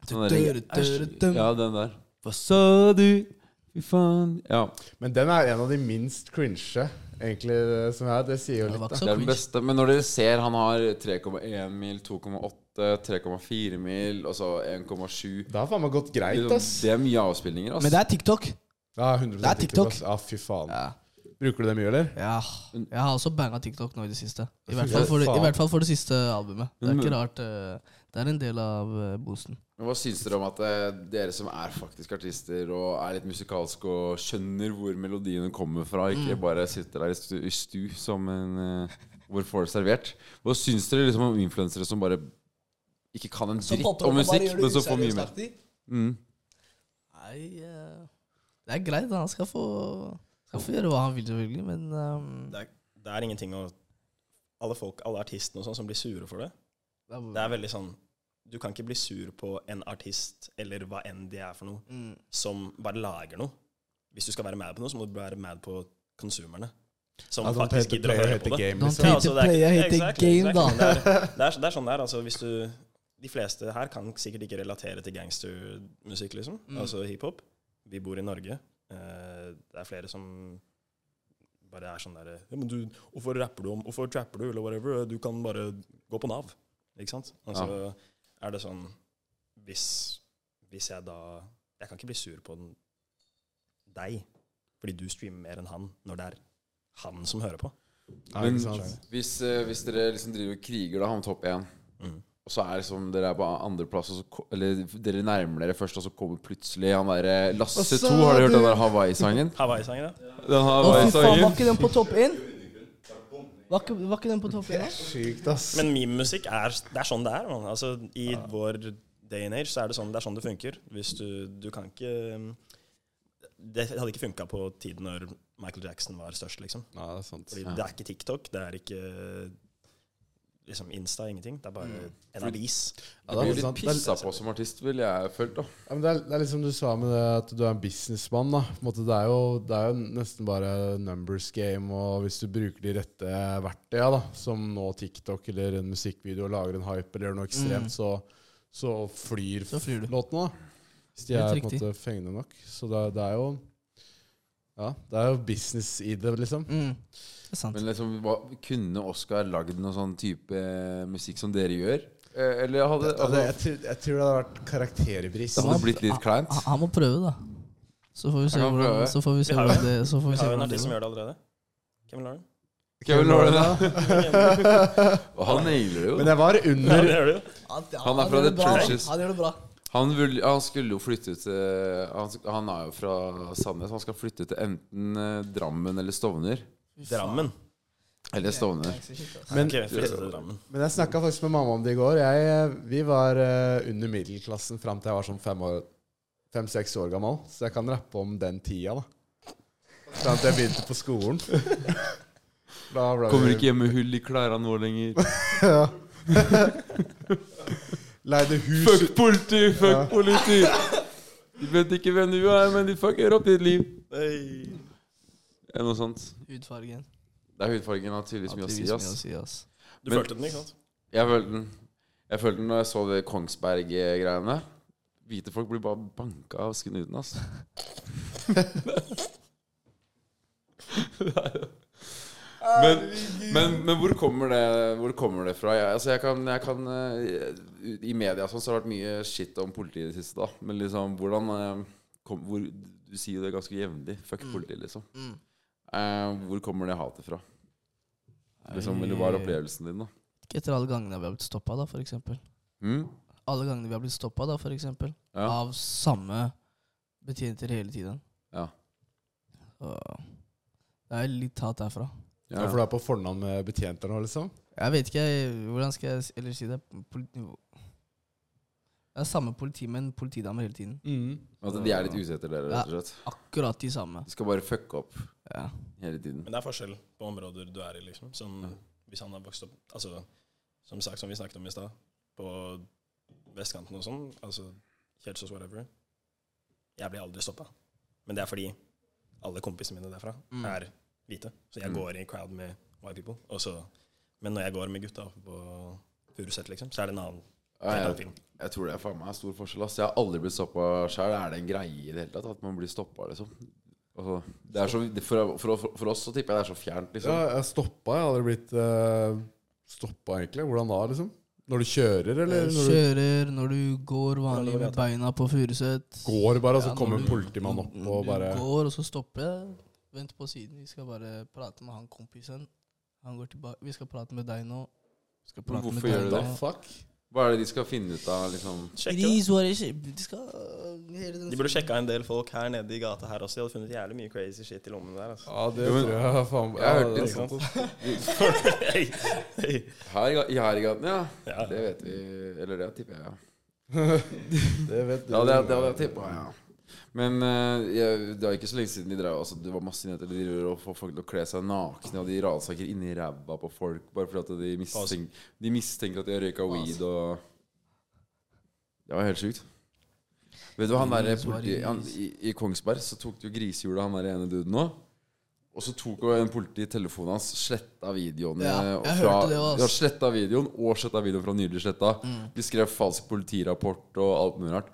Sånn der- Ja, den der. Hva sa du? Fy faen Ja. Men den er en av de minst cringe, egentlig, eh, som er. Det sier jo Det var ikke litt, da. så Det er den cringe. beste. Men når dere ser han har 3,1 mil, 2,8, 3,4 mil, og så 1,7 Det har faen meg gått greit, Liksom, ass. Det er mye avspillinger, ass. Men det er TikTok. Ja, 100 Det er TikTok. ass. Ja, fy faen. Ja. Bruker du det mye, eller? ja. Jeg har også banga TikTok nå i det siste. I hvert Ja, fall for det, i faen. hvert fall for det siste albumet. Det er Men- ikke rart. eh, Det er en del av eh, boosten. Men Hva syns dere om at eh, dere som er faktisk artister og er litt musikalske og skjønner hvor melodiene kommer fra, ikke Mm. bare sitter der i stu, i stu som en eh, hvor får det servert? Hva syns dere liksom om influensere som bare ikke kan en dritt om musikk, men som får mye mer? Mm. Nei, eh, det er greit. Han skal få, skal få gjøre hva han vil, selvfølgelig, men ehm, det er, det er ingenting å Alle folk, alle artistene og sånn som blir sure for det. det er- Det er veldig sånn Du kan ikke bli sur på en artist, eller hva enn de er for noe, Mm. som bare lager noe. Hvis du skal være mad på noe, så må du være mad på konsumerne. Som Ja, don't hate faktisk the gidder å player, høre hate på the det. game, Don't liksom. hate altså, the det er ikke- player, hate the exactly, game, da. exactly. Det er, det, er, så- det er sånn det er. Altså, hvis du, de fleste her kan sikkert ikke relatere til gangstermusikk, liksom. Mm. Altså hiphop. Vi bor i Norge. Eh, det er flere som bare er sånn derre ja, men du, 'Hvorfor rapper du om Hvorfor trapper du?' eller whatever. Du kan bare gå på Nav. Ikke sant? Altså, er det sånn hvis, hvis jeg da Jeg kan ikke bli sur på den, deg fordi du streamer mer enn han, når det er han som hører på. Ja, Men ikke sant? hvis, eh, hvis dere liksom driver og kriger da om topp én, Mm. og Og så er liksom dere er på andreplass, og så ko- eller dere nærmer dere først, og så kommer plutselig han derre Og Lasse så 2. Har dere hørt den du- der Hawaii-sangen? Hawaii-sanger, ja. Den Å, fy faen, var Hawaii-sangen. ikke den på topp én? Var, ikke- var ikke den på topp én? da? Sykt, ass. Men meme-musikk er, det er sånn det er. Man. Altså, I vår day and age så er det sånn det, er sånn det funker. Hvis du, du kan ikke Det hadde ikke funka på tiden når Michael Jackson var størst, liksom. Nei, det er sant. Fordi det er ikke TikTok, det er ikke liksom Insta, ingenting. Det er bare en avis. Ja, Du det, blir er litt sant. Det, pissa på som artist, ville jeg følt, da. er- ja, men det, er, det er liksom du sa med det at du er en businessmann. da. På en måte, det, er jo, det er jo nesten bare numbers game. Og hvis du bruker de rette verktøya, da, som nå TikTok eller en musikkvideo, og lager en hype eller gjør noe ekstremt, så, så flyr Mm. Så flyr du. låtene. da. Hvis de Helt er på en riktig. måte fengende nok. Så det, er- det er jo ja, det er jo business i det, liksom. Mm. Det er sant. Men liksom, hva, kunne Oskar lagd noe sånn type musikk som dere gjør? Eh, Eller hadde, Ja, hadde, det, Altså, jeg, tror, jeg tror det hadde vært karakterbrist. hadde det blitt litt kleint? Han, han må prøve, da. Så får vi se Han kan hvordan prøve. så får vi se Vi har hvordan jo- det så får vi Vi se har jo en hvordan det artist som går. gjør det allerede. Kevin Lauren. Kevin Lauren, ja. ja. Og han nailer det jo. Men jeg var Ja, det under gjør du jo. Han er Han er fra The Trenches. Han gjør det bra. Han, vil, han skulle jo flytte til han, sk- han er jo fra Sandnes. Han skal flytte til enten eh, Drammen eller Stovner. Drammen. Eller Stovner. Men- Ok, flyttet til Drammen. Men jeg snakka faktisk med mamma om det i går. Jeg, vi var eh, under middelklassen fram til jeg var sånn fem år fem-seks år gammel. Så jeg kan rappe om den tida, da. Fram til jeg begynte på [laughs] skolen. Da ble vi- Kommer ikke hjem med hull i klærne nå lenger. Ja. [laughs] Leide hus [laughs] Fuck politi, Ja. fuck politi! De vet ikke hvem du er, men de fucker opp ditt liv. Eller noe sånt. Hudfargen. Det er hudfargen har tydeligvis mye å si, ass. si, ass. Du Men- følte den, ikke sant? Jeg følte den Jeg følte den når jeg så det Kongsberg-greiene. Hvite folk blir bare banka av snuten, ass. men, men, men hvor kommer det Hvor kommer det fra? Jeg, altså jeg kan, jeg kan eh, I media og sånn, så har det vært mye shit om politiet i det siste. da Men liksom hvordan eh, kom, hvor, Du sier jo det ganske jevnlig. Fuck politiet, liksom. Mm. Eh, hvor kommer det hatet fra? Liksom, eller hva er opplevelsen din, da? Ikke Etter alle gangene vi har blitt stoppa, da, for eksempel. Mm? Alle gangene vi har blitt stoppa, da, for eksempel. Ja. Av samme betjenter hele tiden. Ja. Så det er litt hat derfra. Ja, For du er på fornavn med betjenter nå, liksom? Jeg vet ikke jeg, hvordan skal jeg s- ellers si det. Politi det er samme politi, men politidamer hele tiden. At Altså, de er litt ute etter dere, rett og slett. Akkurat de samme. De skal bare fucke opp Ja. hele tiden. Men det er forskjell på områder du er i, liksom. Sånn, Hvis han har vokst opp Altså, som sagt, som vi snakket om i stad, på vestkanten og sånn, altså Kjelsås whatever Jeg blir aldri stoppa. Men det er fordi alle kompisene mine derfra Mm. er hvite. Så jeg Mm. går i crowd med white people. Og så, men når jeg går med gutta oppe på Furuset, liksom, så er det en annen, Ja, helt annen jeg, film. jeg tror det er faen meg stor forskjell. Ass. Jeg har aldri blitt stoppa sjøl. Er det en greie i det hele tatt at man blir stoppa, liksom? Altså, det er så, det- for, for, for oss så tipper jeg det er så fjernt, Ja, liksom. jeg stoppa. Jeg hadde blitt uh, stoppa, egentlig. Hvordan da, liksom? Når du kjører, eller Når du når du kjører, når du går vanlig med beina på Furuset. går bare, og så Ja, kommer når en du- politimann opp når og bare Du går, og så stopper jeg. Vent på siden. Vi skal bare prate med han kompisen. Han går tilbake. Vi skal prate med deg nå. Vi skal Men prate med hvorfor gjør deg du The det? nå. fuck? Hva er det de skal finne ut av, liksom? Sjekke, da. Gris, hva er det skje- De skal øh, hele den- De burde sjekka en del folk her nede i gata her også. De hadde funnet jævlig mye crazy shit i lommene der. altså. Ja, det Jo, men- tror jeg faen Jeg har hørt det er litt sant, ass. altså. [laughs] Hei, hei. Her, i ga- i her i gaten, ja. Ja. Det vet vi. Eller det tipper jeg, ja. [laughs] Det vet du. Ja, det, det hadde jeg tippa, ja. Men eh, jeg, det var ikke så lenge siden de drev altså, Det var masse nyheter. De driver og får folk til å kle seg nakne, og de ransaker inni ræva på folk bare fordi at de, mistenker, de mistenker at de har røyka weed og Det var helt sjukt. Vet du hva, han der Gris var politi, gris. han, i, I Kongsberg så tok de jo grisehjulet, han der ene duden òg. Og så tok jo en politi telefonen hans, sletta videoene Ja, jeg fra, hørte det også. Ja, sletta videoen og sletta videoen fra nylig sletta. Mm. De skrev falsk politirapport og alt mulig rart.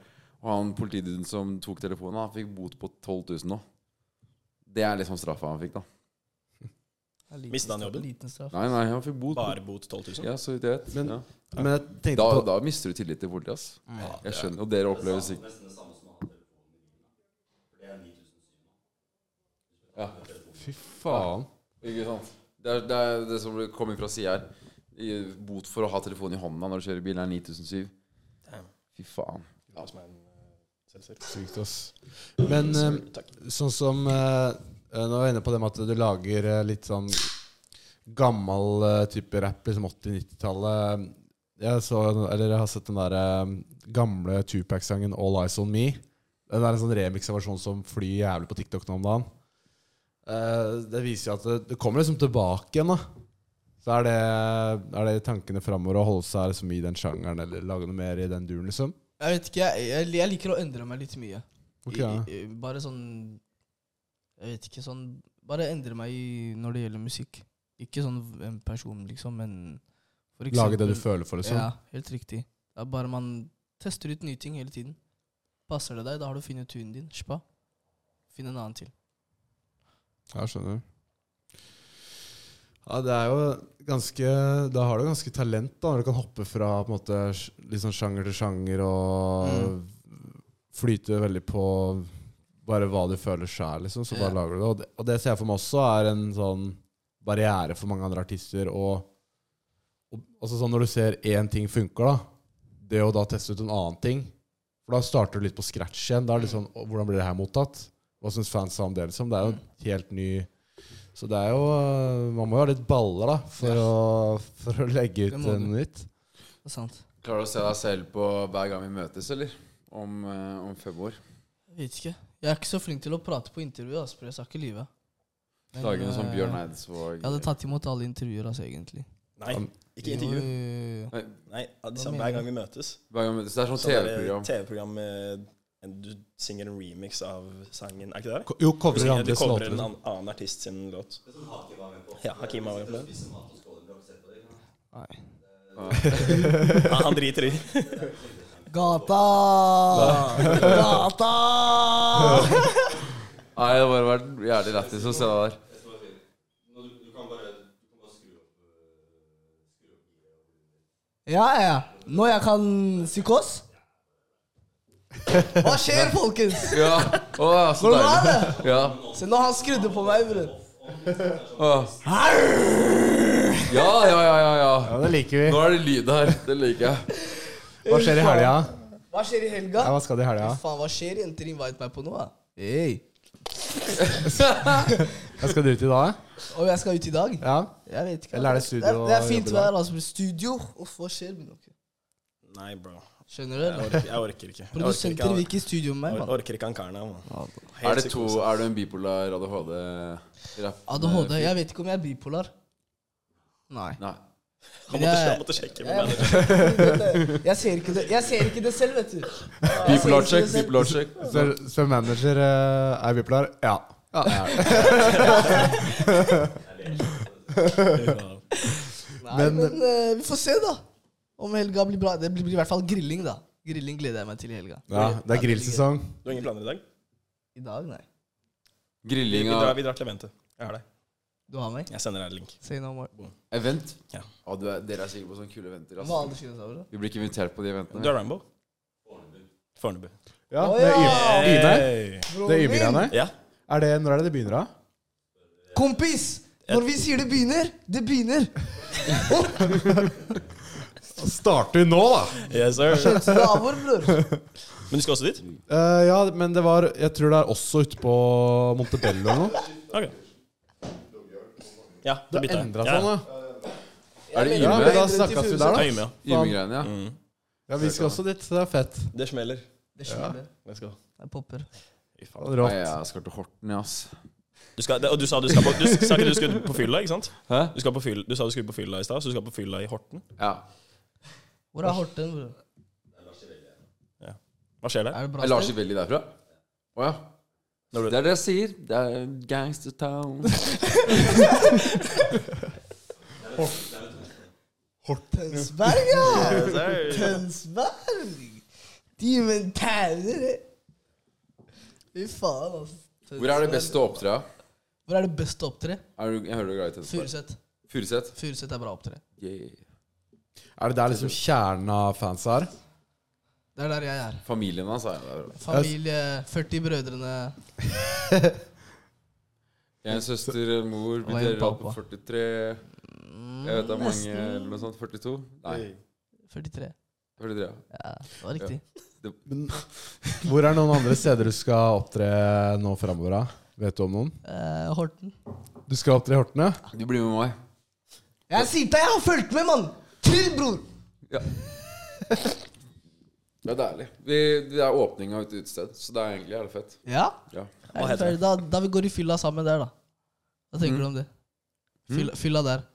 Og han politiduden som tok telefonen, han fikk bot på 12 000 nå. Det er liksom straffa han fikk, da. Det er liten Mistet han straff- jobben? Liten straff. Nei, nei, han fikk bot. Bare bot 12 000. Ja, så vidt jeg vet. Men- ja. Men jeg tenkte da, på da mister du tillit til politiet, ass. Jeg skjønner, og dere opplever sikkert Ja, Fy faen. ikke sant. Det er det, er det som kommer fra sida her. I bot for å ha telefonen i hånda når du kjører bil, er 9007. Damn. Fy faen. Ja. Som er en eh, selvsagt. Sykt, ass. Men eh, Takk. sånn som eh, Nå er jeg inne på det med at du lager eh, litt sånn gammel eh, type rap, liksom 80-90-tallet. Jeg, så, eller jeg har sett den der eh, gamle Tupac-sangen 'All Eyes On Me'. Den er en sånn remix-versjon som flyr jævlig på TikTok nå om dagen. Eh, det viser jo at det, det kommer liksom tilbake igjen, da. Så er det, er det tankene framover å holde seg liksom, i den sjangeren eller lage noe mer i den duren, liksom? Jeg vet ikke, jeg, jeg, jeg liker å endre meg litt mye. Ok, I, ja. i, i- bare sånn Jeg vet ikke, sånn Bare endre meg i, når det gjelder musikk. Ikke sånn en person, liksom, men for Lage det du eksempel- føler for, liksom? Ja, helt riktig. Det er bare man tester ut nye ting hele tiden. Passer det deg, da har du funnet tunen din. Spa. Finn en annen til. Ja, skjønner. Ja, det er jo ganske Da har du ganske talent, da, når du kan hoppe fra på en måte sj- litt sånn sjanger til sjanger og flyte veldig på bare hva du føler sjæl, liksom. Så bare Ja. lager du det. Og, det. og det ser jeg for meg også er en sånn barriere for mange andre artister. Og, og altså sånn når du ser én ting funker, da, det å da teste ut en annen ting For da starter du litt på scratch igjen. Da er det sånn «Å, Hvordan blir det her mottatt? Hva syns fansa om det? liksom? Det er jo helt ny Så det er jo øh, Man må jo ha litt baller, da, for, å, for å legge ut Det må noe du. nytt. Det er sant. Klarer du å se deg selv på hver gang vi møtes, eller? Om, eh, om fem år. Jeg vet ikke. Jeg er ikke så flink til å prate på intervju, altså, for jeg skal ikke lyve. Men, Dagene som eh, Bjørn Eidsvåg Jeg hadde tatt imot alle intervjuer, altså, egentlig. Nei, ikke intervju. Jo, jo, jo. Nei, Nei, de Hva samme mener hver du? gang vi møtes. hver gang vi møtes. Det er sånn Sånn der TV-program. TV-program med en- Du synger en remix av sangen, er ikke det det? Ko- Jo, Du, covrer synger, du andres covrer låter. en liksom. annen, annen artist sin låt. Ja, sånn Hakim var med på det. sånn Nei. [laughs] Ja, han driter i. Gata! Gata! Nei, det har bare vært jævlig lættis å se deg der. [laughs] Ja, ja. Når jeg kan psykos? [laughs] Hva skjer, folkens? Ja, å, så Hvordan var deilig. det? Ja. Se, nå har han skrudde på meg, bror. Å. Ja, ja, ja, ja, ja. Ja, det liker vi. Nå er det lyd her. Det liker jeg. Hva skjer i helga? Hva skjer i helga? Ja, hva skal du i helga? Faen, hva skjer? Jenter invite meg på noe. da. Hey. Hva skal du ut i dag? Og jeg skal ut i dag? Ja. Jeg vet ikke. altså. Eller er det studio Det er, det er og fint jobb i dag? vær. altså. Studio? Uff, hva skjer? med dere? Nei, bro. Skjønner du? Jeg eller? orker, jeg orker ikke. Jeg orker ikke, Produsenter vil han- ikke i studio med jeg meg. mann. orker ikke han karen her. man. Helt Er, det to, psykose. er du en bipolar ADHD-rapp? ADHD? Jeg vet ikke om jeg er bipolar. Nei. Nei. Men Han måtte, jeg- han måtte sjekke med jeg- manager. Jeg ser ikke det, jeg ser ikke det selv, vet du. Bipolar check, bipolar check. Spør, spør manager eh, er bipolar. Ja. [laughs] Nei, Men- men, eh, vi får se, da. Om helga blir bra. Det blir, blir i hvert fall grilling, da. Grilling gleder jeg meg til i helga. ja. Det er grillsesong. Du har ingen planer i dag? I dag, nei. Vi, vi, Grilling drar, av vi drar til eventet. Jeg har deg. Du har meg? Jeg sender deg en link. Say no more. event. Ja. Ja, du er, dere er sikre på sånne kule eventer. Hva Altså. aldersgrensa var det? Vi blir ikke invitert på de Du eventene. er Rambo? Fornebu. Ja, Å, det er ja! Y- Yme. Hey. Det er Yme-greiene. Ja. Er det, når er det det begynner, da? Kompis! Når vi sier det begynner, det begynner. Starter vi nå, da? Yes, sir. Så det er vår, bror. Men du skal også dit? Eh, ja, men det var Jeg tror det er også ute på Montebello eller [laughs] noe. Ok. Ja, Det det bytta har jeg. endra Ja, seg nå. Er det Ja, Yme? men da snakkes vi der, Ja, da. Yme, ja. Yme-greiene, ja. Mm. Ja, Vi skal også dit. så Det er fett. Det smeller. Det smeller. Let's go. Jeg popper. Nei, Rått. jeg skal til Horten, ja, ass. Du skal, og du sa du, skal på, du sa ikke du skulle på fylla, ikke sant? Hæ? Du, skal på fylla, du sa du skulle på fylla i stad, så du skal på fylla i Horten. Ja. Hvor er Horten, bror? Hva skjer der? Er det bra Er Lars sted? Ivelli derfra? Å ja. Når Det er det jeg sier. Det er gangster town. Tønsberg, ja! du Tønsberg! Demon Tanner. Fy faen, altså. Hvor er det Tønsberg. beste å opptre? Hvor er det best å opptre? Er du, jeg hører du er glad i Tønsberg. Furuset. Furuset? Furuset er bra å opptre. Yeah. Er det der liksom kjernen av fans er? Det er der jeg er. Familien hans er der. Familie, 40 brødrene Jeg er en søster, en mor, Og vi en deler alt på pappa. 43. Jeg vet det er mange Nesten. eller noe sånt. 42? Nei, 43. 43. ja. Ja, det var riktig. Men, hvor er noen andre steder du skal opptre nå framover? da? Vet du om noen? Eh, Horten. Du skal opptre i Horten, ja? Du blir med meg. Jeg sier deg, jeg har fulgt med, mann! Trill, bror! Ja. Det er deilig. Vi, det er åpning av et utested, så det er egentlig jævlig fett. Ja? Ja. Er Hva det heter ferdig? Da, da vi går i fylla sammen der, da. Hva tenker du om det? Fylla, fylla der.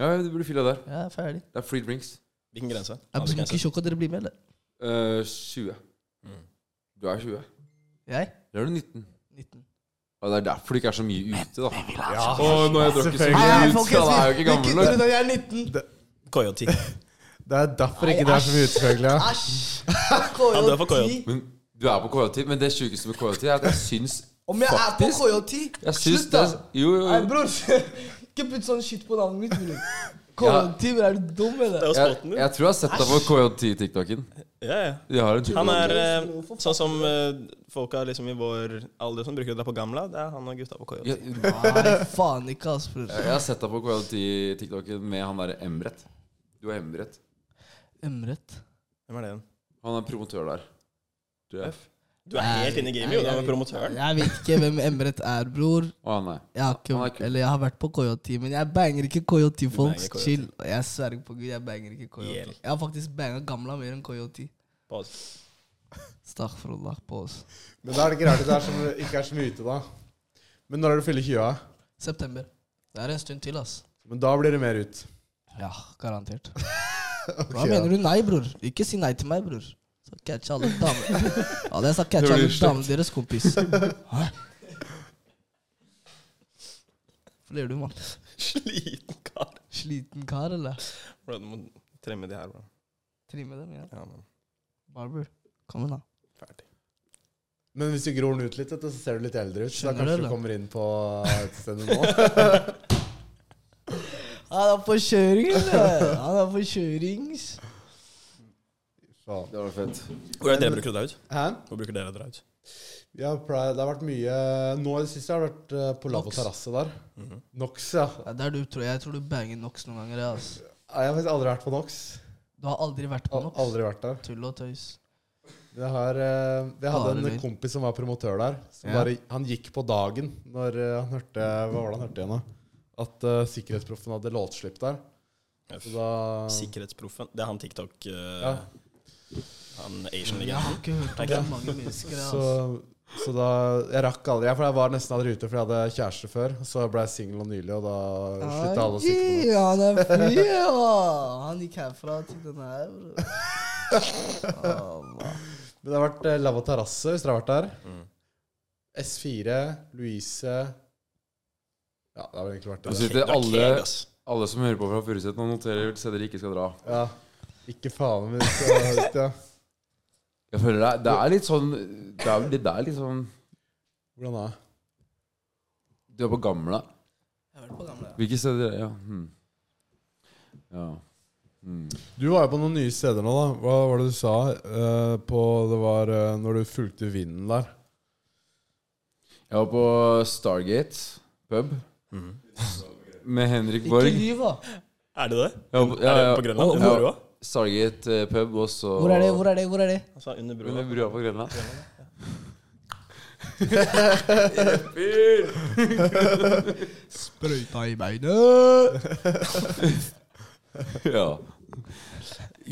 ja, du blir fylla der. Ja, ferdig. Det er free drinks. Hvilken grense? Jeg Aner blir ikke ikke sjokk at dere blir med, eller? Eh, 20. Mm. Du er 20. Jeg? Eller er du 19? 19. Ja, det er derfor du ikke er så mye ute, da. Fylla. Å, nå har jeg drukket så Selvfølgelig. mye ut, så da er jeg jo ikke gammel nok. Jeg er 19. [laughs] Coyote. Det er derfor ikke det er så mye utfølgelig. Ja. Æsj! Ja, det er for KJ10. KJ. Men du er på KJ10, men det sjukeste med KJ10 er at jeg syns Om jeg er på Faktisk. KJ10 Jeg syns Slutt, det da! Jo, jo, Nei, jo. bror. [laughs] Ikke putt sånn shit på navnet mitt, bror. KJ10, bror. Er du dum, Det er eller? jo Jeg, spotten din. jeg tror jeg har sett deg på KJ10-tiktoken. Ja, ja. De har en Han er eh, Hvorfor faen? sånn som eh, folka liksom i vår alder som bruker å dra på Gamla. Det er han og gutta på Coyote. jeg, Nei, faen ikke, ass, bror. jeg har sett deg på KJ10-tiktoken med han derre Emret. Du er Emret. Emret. Hvem er det igjen? Han er promotør der. Du er F? Du er helt inne i gamet, jo. Du er promotøren. Jeg vet ikke hvem Emret er, bror. Å nei. Jeg har, ikke, Han er kul. eller jeg har vært på KJ10, men jeg banger ikke KJ10, folks. banger KJ10. Chill. Jeg sverger på gud, jeg banger ikke KJ10. Gjeld. Jeg har faktisk banga gamla mer enn KJ10. Pause. [laughs] Stakhfrullah på oss. [laughs] Men da er det ikke rart at det er så, mye- ikke er så mye ute, da. Men når er det du fyller 20? da? September. Det er en stund til, ass. Men da blir det mer ut. Ja, garantert. Hva [laughs] Ok, ja. mener du nei, bror? Ikke si nei til meg, bror. Så catcher alle [laughs] damene. Ja, det sa catcher Det alle blir slekt. damene deres, kompis. Hæ? Ler du, mann? Sliten kar. Sliten kar, eller? Bro, du må tremme de her, bro. Trimme dem, ja. Ja, men Barber, kom igjen, da. ferdig. Men hvis du gror den ut litt, vet du, så ser du litt eldre ut. Så da Skjønner du, kanskje du eller? kommer inn på utestedet nå. [laughs] [laughs] Han er på kjøring, eller? Han er på kjørings. Faen. Det var fett. Hvor er dere bruker å dra ut? Hæ? Hvor bruker dere å dra ut? Vi har pleid- det har vært mye Nå i det siste har det vært eh, på Lav og Nox. Terrasse der. Mhm. Nox, ja. Ja, der du tror, jeg tror du banger Nox noen ganger. ja, ass. Jeg har faktisk aldri vært på Nox. Du har aldri vært på Al Nox? aldri vært der. Tull og tøys. Jeg, har, eh, jeg hadde Bare en lyd. kompis som var promotør der. Som Ja. bare, han gikk på dagen når eh, han hørte Hva var det han hørte igjen, da? At eh, Sikkerhetsproffen hadde låtslipp der. Så da Sikkerhetsproffen. Det er han TikTok eh, ja, Han Asian Jeg har legenden. ikke hørt om så mange mennesker. ja, så, ass. så da Jeg rakk aldri. Jeg, for jeg var nesten aldri ute, for jeg hadde kjæreste før. Så ble jeg singel og nylig, og da slutta alle å sikte på meg. Ja, han er fri, [laughs] ja! Han gikk herfra til den her, bror. [laughs] Ah, Men det har vært eh, Lav og Terrasse, hvis dere har vært der. Mm. S4, Louise Ja, det har vel egentlig vært Og det. så Du er sitter alle, keg, ass. alle som hører på fra Furuset, og noterer steder de ikke skal dra. Ja. Ikke faen men hvis jeg har hørt, ja. Jeg føler det, er- det er litt sånn Det er, det er litt sånn Hvordan da? Du er på gamla. Jeg har vært på gamle, ja. Hvilke steder Ja. Hmm. ja. Hmm. Du var jo på noen nye steder nå, da. Hva var det du sa? eh, på, det var eh, når du fulgte vinden der. Jeg var på Stargate pub Mhm. med Henrik Ikke Borg. lyv, da. Er det det? Ja, på- Er ja, det ja. på Grønland? Under Ja. brua? Stargate eh, pub, og så Hvor er det? Hvor er det? Hvor er det? Altså, under brua. Under brua på Grønland. [laughs] Sprøyta i beinet. ja.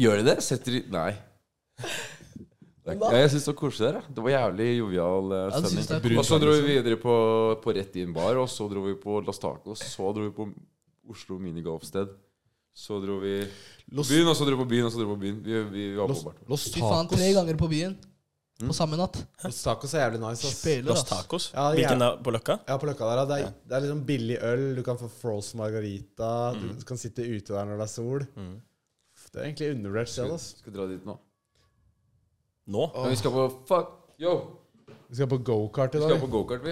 Gjør de det? Setter de Nei. Det er ikke- Hva? Ja, jeg syns det var koselig der. ja. Det var jævlig jovial eh, Ja, du synes det er liksom. stemning. Og så dro vi videre på, på Rett Inn Bar, og så dro vi på Las Tacos, så dro vi på Oslo Minigolfsted. Så dro vi på Los, byen, og så dro vi på byen, og så dro vi på byen. Vi, vi, vi var på Los, bart. Los Fy faen, Tacos. tre ganger på byen. Hmm? På samme natt. Los Tacos er jævlig nice. ass. Spiller, Los ass. Tacos? Ja, det er- Hvilken er på Løkka? Ja, på Løkka der, ja. det, er, det er liksom billig øl. Du kan få frozen margarita. Du, Mm. du kan sitte ute der når det er sol. Mhm. Det er egentlig undervurdert sted. Skal, ass. skal dra dit nå. Nå? Men vi skal på Fuck yo! Vi skal på gokart Vi i skal dag. på gokart, vi.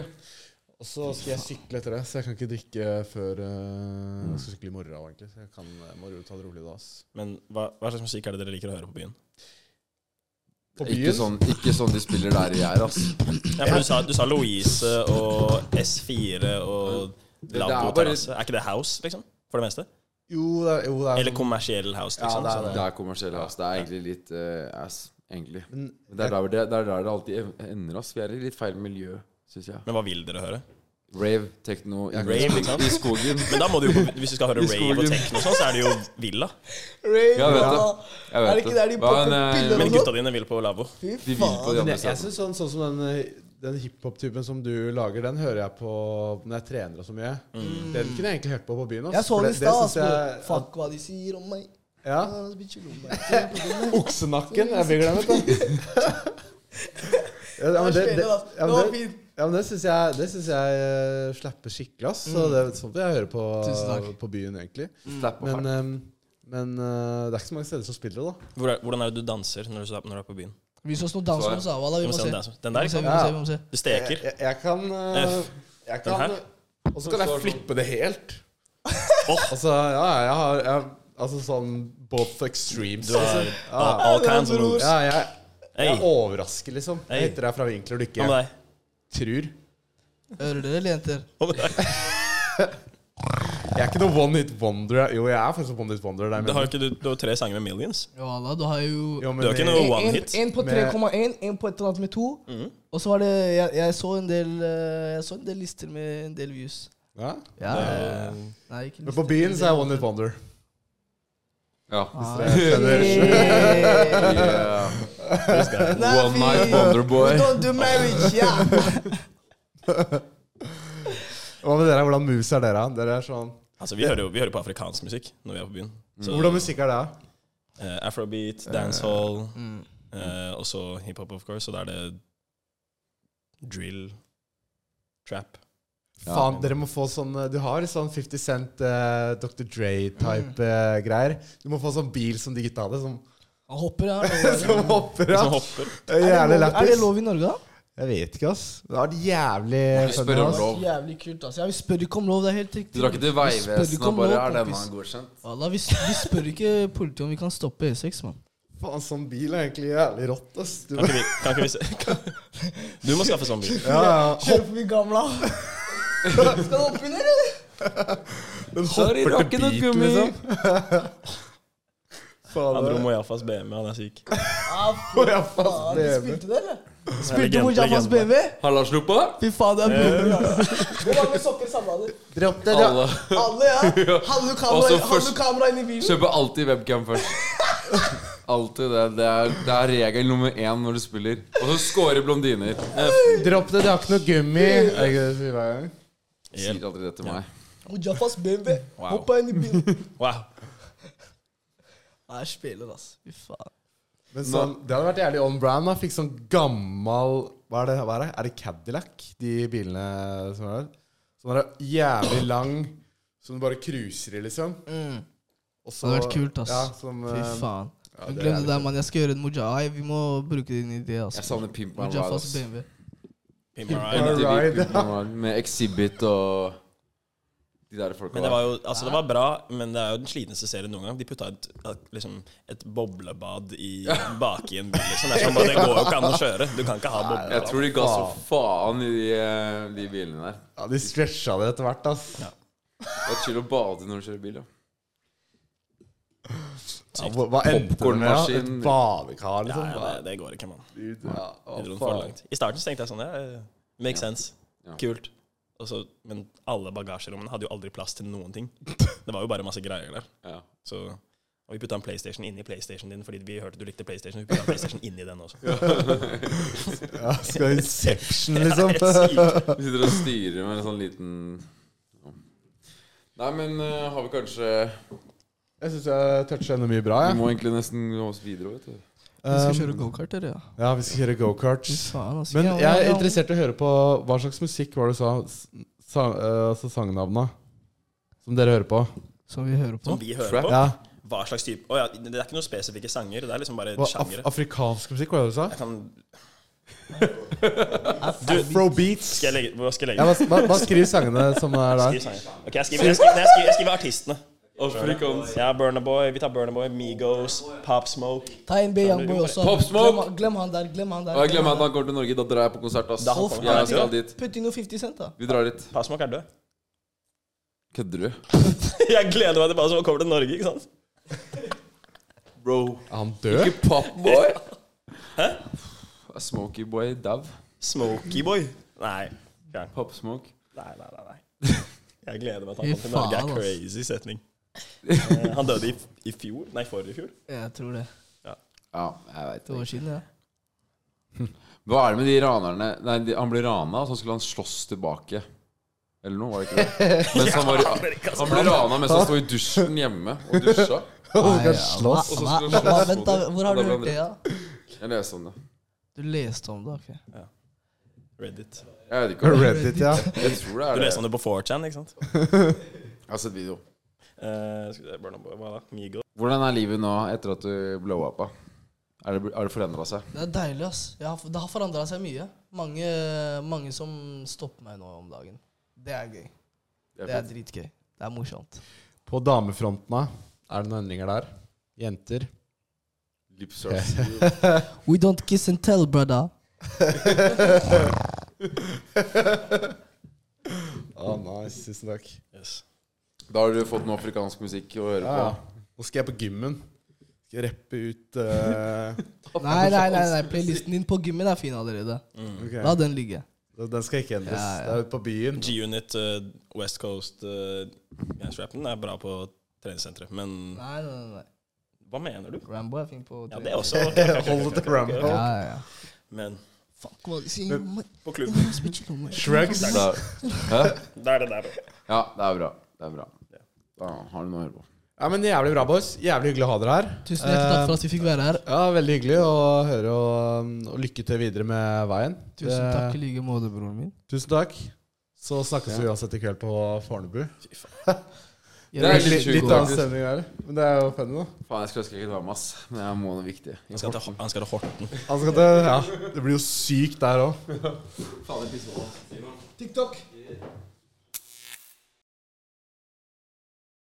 Og så skal jeg sykle etter det, så jeg kan ikke drikke før eh, Jeg skal sykle i morgen, egentlig. Så jeg kan, jeg må ta det rolig da. ass. Men hva, hva slags musikk er det dere liker å høre på [laughs] byen? På Ikke byen? sånn, ikke sånn de spiller der jeg er, ass. Ja, for du, sa, du sa Louise og S4 og det er Lavvo bare- terrasse. Er ikke det house, liksom? For det meste? Jo, det er, jo, det er sånn- Eller kommersiell house, Ja, liksom. det er så det. Sånn, Det er kommersiell ass. Det er egentlig litt eh, ass, egentlig. Men- Men det er der det, det, er der det alltid ev- ender, ass. Vi er i litt feil miljø, syns jeg. Men hva vil dere høre? Rave, techno, i- Rave, ikke sant? i skogen. Men da må du jo, på- hvis du skal høre I rave og skogen. techno og sånn, så er det jo villa. Rave, Ja, jeg vet ja. det. Jeg vet Er det ikke der de Hva, plukker men, eh, piller Men og gutta dine vil på lavvo. Fy De vil på faen. de Men andre jeg, jeg stedene. synes sånn, sånn som den, eh, den hiphop-typen som du lager, den hører jeg på når jeg trener og så mye. Mm. Mm. Den kunne jeg egentlig hørt på på byen. ass. Jeg så For det i stad. synes jeg- ass. Fuck hva de sier om meg. Ja. Ah, bitch, om meg. Oksenakken. Jeg blir glemt, da. [laughs] Ja, men det, det, Det ja, var men det, fint. ja, men det syns jeg, det synes jeg eh, slapper skikkelig, ass. Så det er sånt jeg hører på, Tusen takk. på byen, egentlig. Slapp av. Men, ehm, men eh, det er ikke så mange steder som spiller det, da. Hvor er- Hvordan er det du danser når du, når du er på byen? Vis oss noen danser om Sawala. Du Vi må må se se. den, Vi må der, den der, se, ikke vi sant? må se, vi må se. Du steker. Jeg, jeg kan eh, Jeg Den kan her? Og så kan jeg flippe det helt. [laughs] Åh. Altså, ja, jeg har jeg, Altså sånn both extremes. Du har altså. all, all kinds of moves. Ja, jeg, Hey, jeg overrasker, liksom. Hey. Jeg hitter deg fra vinkler du hva ikke med deg? tror. Hører dere, eller jenter? Hva med deg? Jeg er ikke noe one hit wonder. Jo, jeg er faktisk one hit wonder. Der, Du har ikke du, du har tre sanger med millions. Ja, da, du har jo jo, men du har ikke det- noe- En- one en- hit. En på Med- 3,1, en på et eller annet med to. Og så var det jeg, jeg, så en del, eh, jeg så en del lister med en del views. ja? Ja, Det- Nei, ikke Men på byen så er jeg one hit wonder. Ja. Ah, eh, Hey. Yeah. This guy. One night wonderboy. We don't do marriage, yeah. Hva med dere? Hvordan moves er dere? Dere er sånn Altså, vi hører jo vi hører på afrikansk musikk når vi er på byen. Så, Hvordan musikk er det? da? eh, afrobeat, dancehall, Mm. eh, og så hiphop, of course. Og da er det drill, trap. Ja. Faen, dere må få sånn eh, Du har sånn 50 Cent, eh, Dr. Dre-type eh, greier. Du må få sånn bil som de gutta hadde, som, [laughs] Han hopper her. som hopper De av. som hopper. Det Er er det, Jævlig lov, er det lættis. lov i Norge, da? Jeg vet ikke, ass. Det er jævlig Vi funny, spør om ass. lov. Jævlig kult, altså. Ja, vi spør ikke om lov, det er helt riktig. Du drar ikke til Vi spør ikke Vegvesenet om og bare lov, Er denne kompis. godkjent? Allah, vi, vi spør ikke politiet om vi kan stoppe E6, mann. Faen, sånn bil er egentlig jævlig rått, ass. Du, Kan ikke vi, kan ikke vi se [laughs] kan, Du må skaffe sånn bil. ja, ja. Kjør forbi gamla. [laughs] Skal du hoppe inn, eller? Den Sorry, hopper det var til ikke noe beat, gummi. liksom. [laughs] Faen, Han dro det- Mojafas BM, han er syk. Ah, Å, ja, faen, faen, du BM. spilte det, eller? Spilte Legende, Mojafas legende. BV? Halla, slupp av! Fy faen, det er broren. altså. Hvor mange sokker samla du? Dere opp der, ja. Alle [laughs] Alle, ja? Hadde du kamera, Også hadde først- du kamera inni bilen? kjøper alltid webcam først. Alltid det. Det er, det er regel nummer én når du spiller. Og så scorer blondiner. Dropp det, det har ikke noe gummi. Er ikke det vi var i gang? Sier aldri det til meg. Mojafas BV. Wow. Hoppa inn i [laughs] bilen. Wow. Nei, jeg spiller, altså. Fy faen. Men sånn, Det hadde vært jævlig on brand. da Fikk sånn gammal Hva er det? Hva er, det? er det Cadillac, de bilene som er der? Sånn er det jævlig lang som du bare cruiser i, liksom. Mm. Og så- Det hadde vært kult, ass. Ja, som, Fy eh, faen. ja, Men det Glem er det der, mann. Jeg skal gjøre en moja. Nei, vi må bruke din idé, altså. Jeg savner Pimp My Ride. Mojafas ass. BMW. Pimp my ride. MTV Ride, Pimp My Ride Med Exhibit og de der folka Men det var jo Altså, det var bra, men det er jo den slitneste serien noen gang. De putta et, et, liksom, et boblebad i baki en bil, liksom. Det, er sånn, bare, det går jo ikke an å kjøre. Du kan ikke ha Jeg boblebad. tror de ga så faen i de, eh, de bilene der. ja, de stretcha det etter hvert, ass. Ja. Det er chill å bade når du kjører bil. Ja. Ja, hva hva endte det med? Ja? Et Popcornmaskin. badekar, Ja, liksom? ja, det, det går ikke, mann. Gud, ja, å, Jeg dro den for faen. langt. I starten så tenkte jeg sånn ja, eh, Makes sense. Ja. Kult. Og så, men alle bagasjerommene hadde jo aldri plass til [laughs] noen ting. Det var jo bare masse greier der. Ja. Så, og vi putta en PlayStation inni PlayStationen din fordi vi hørte du likte PlayStation. Vi putta en PlayStation inni den også. [laughs] Ja, [laughs] skal Inception, Ja, det er liksom? sykt. Vi sitter og styrer med en sånn liten ja. Nei, men eh, har vi kanskje [laughs] Jeg syns jeg toucha enda mye bra, Vi jeg. må egentlig nesten gå oss videre. Vet du. Vi skal Um, kjøre gokart, eller? Ja. ja, vi skal kjøre Fy gokart. faen, altså. Men jeg er interessert i å høre på hva slags musikk var det du sa? S- Sang, eh, altså sangnavna som dere hører på? Som vi hører på. Som vi hører Trap. på. Ja. Hva slags type Å ja, det er ikke noen spesifikke sanger. Det er liksom bare Hva, af sjangere. afrikansk musikk, var det du sa? Jeg kan Afrobeats. Skal jeg legge Hva skal jeg Ja, legge? hva, hva, hva skriver sangene som er der? Skriv sanger. Ok, jeg skriver, jeg skriver, nei, jeg skriver, jeg skriver artistene. Ja, Burna Boy. Vi tar Burna Boy, Migos, Pop Smoke. Ta en B-youngboy også. Pop Smoke! Glem, glem han der, glem han der. Og jeg glemmer at han kommer til Norge. Da drar jeg på konsert. ass Da han kommer. Jeg skal dit. Putt inn noe 50 Cent, da. Vi drar dit. Pop Smoke er død. Kødder du? [laughs] Jeg gleder meg til hva som kommer til Norge, ikke sant? Bro. Er han død? Ikke popboy! Hæ? Smokyboy dau. Smokyboy. Nei. Fjern. Popsmoke. Nei, nei, nei, nei. Jeg gleder meg til Fy han kom til Norge. faen, er ass. crazy setning. Eh, Han døde i, i fjor. Nei, forrige fjor. Jeg tror det. Ja, jeg veit To år siden, [laughs] ja. Hva er det med de ranerne Nei, de, han ble rana, og så skulle han slåss tilbake. Eller noe, var det ikke det? Mens han, var, han ble rana mens han sto i dusjen hjemme og dusja. Han skal Nei, ja. slåss. Og så Hva- skulle hva- han slåss Vent, mot da. det. Hvor har Og da du ble hørt det? han ja? drept. Jeg leste om det. Du leste om det, ok. Reddit. Jeg vet ikke. om det- Reddit, ja. Jeg tror det Du er leste det. om det på 4chan, ikke sant? Jeg har sett video. Eh, skal vi se, Burna Boy, hva da? Migos? Hvordan er livet nå etter at du blowa på? Er det, har det forandra seg? Det er deilig, ass. Jeg har, det har forandra seg mye. Mange, mange som stopper meg nå om dagen. Det er gøy. Det er dritgøy. Det er morsomt. På damefronten, da? Er det noen endringer der? Jenter? Lip service. We don't kiss and tell, brother. Å, nice. Tusen takk. Yes. Da har du fått noe afrikansk musikk å høre Ja, på. ja. Nå skal jeg på gymmen. Skal jeg rappe ut [laughs] eh, Nei, nei, nei, nei. playlisten din på gymmen er fin allerede. Mm. ok. La den ligge. Den- Den skal ikke endres. Ja, ja. Det er ute på byen. G-Unit, eh, West Coast uh, Rappen er bra på treningssenteret, men Nei, nei, nei. nei. hva mener du? Rambo er fin på Ja, det er [laughs] også Hold it to Rambo. Ja, ja, ja. Men Fuck, hva sier du? på klubben Shrugs. Så da- Hæ? Da er det der, da. Ja, det er bra. Det er bra. Da har du noe å høre på. Ja, men Jævlig bra, boys. Jævlig hyggelig å ha dere her. Eh, Tusen hjertelig takk for at vi fikk være her. Ja, Veldig hyggelig å høre, og, um, og lykke til videre med veien. Tusen takk i like måte, broren min. Tusen takk. Så snakkes vi uansett i kveld på Fornebu. Det er Litt, litt sjukt, litt annen faktisk. stemning der, men det er jo funny, da. Faen, jeg skulle ønske jeg kunne være med, ass. Men jeg må noe viktig. Han skal til, han skal til Horten. Altså, det, ja, det blir jo sykt der òg. Faen, jeg pisser på meg. TikTok.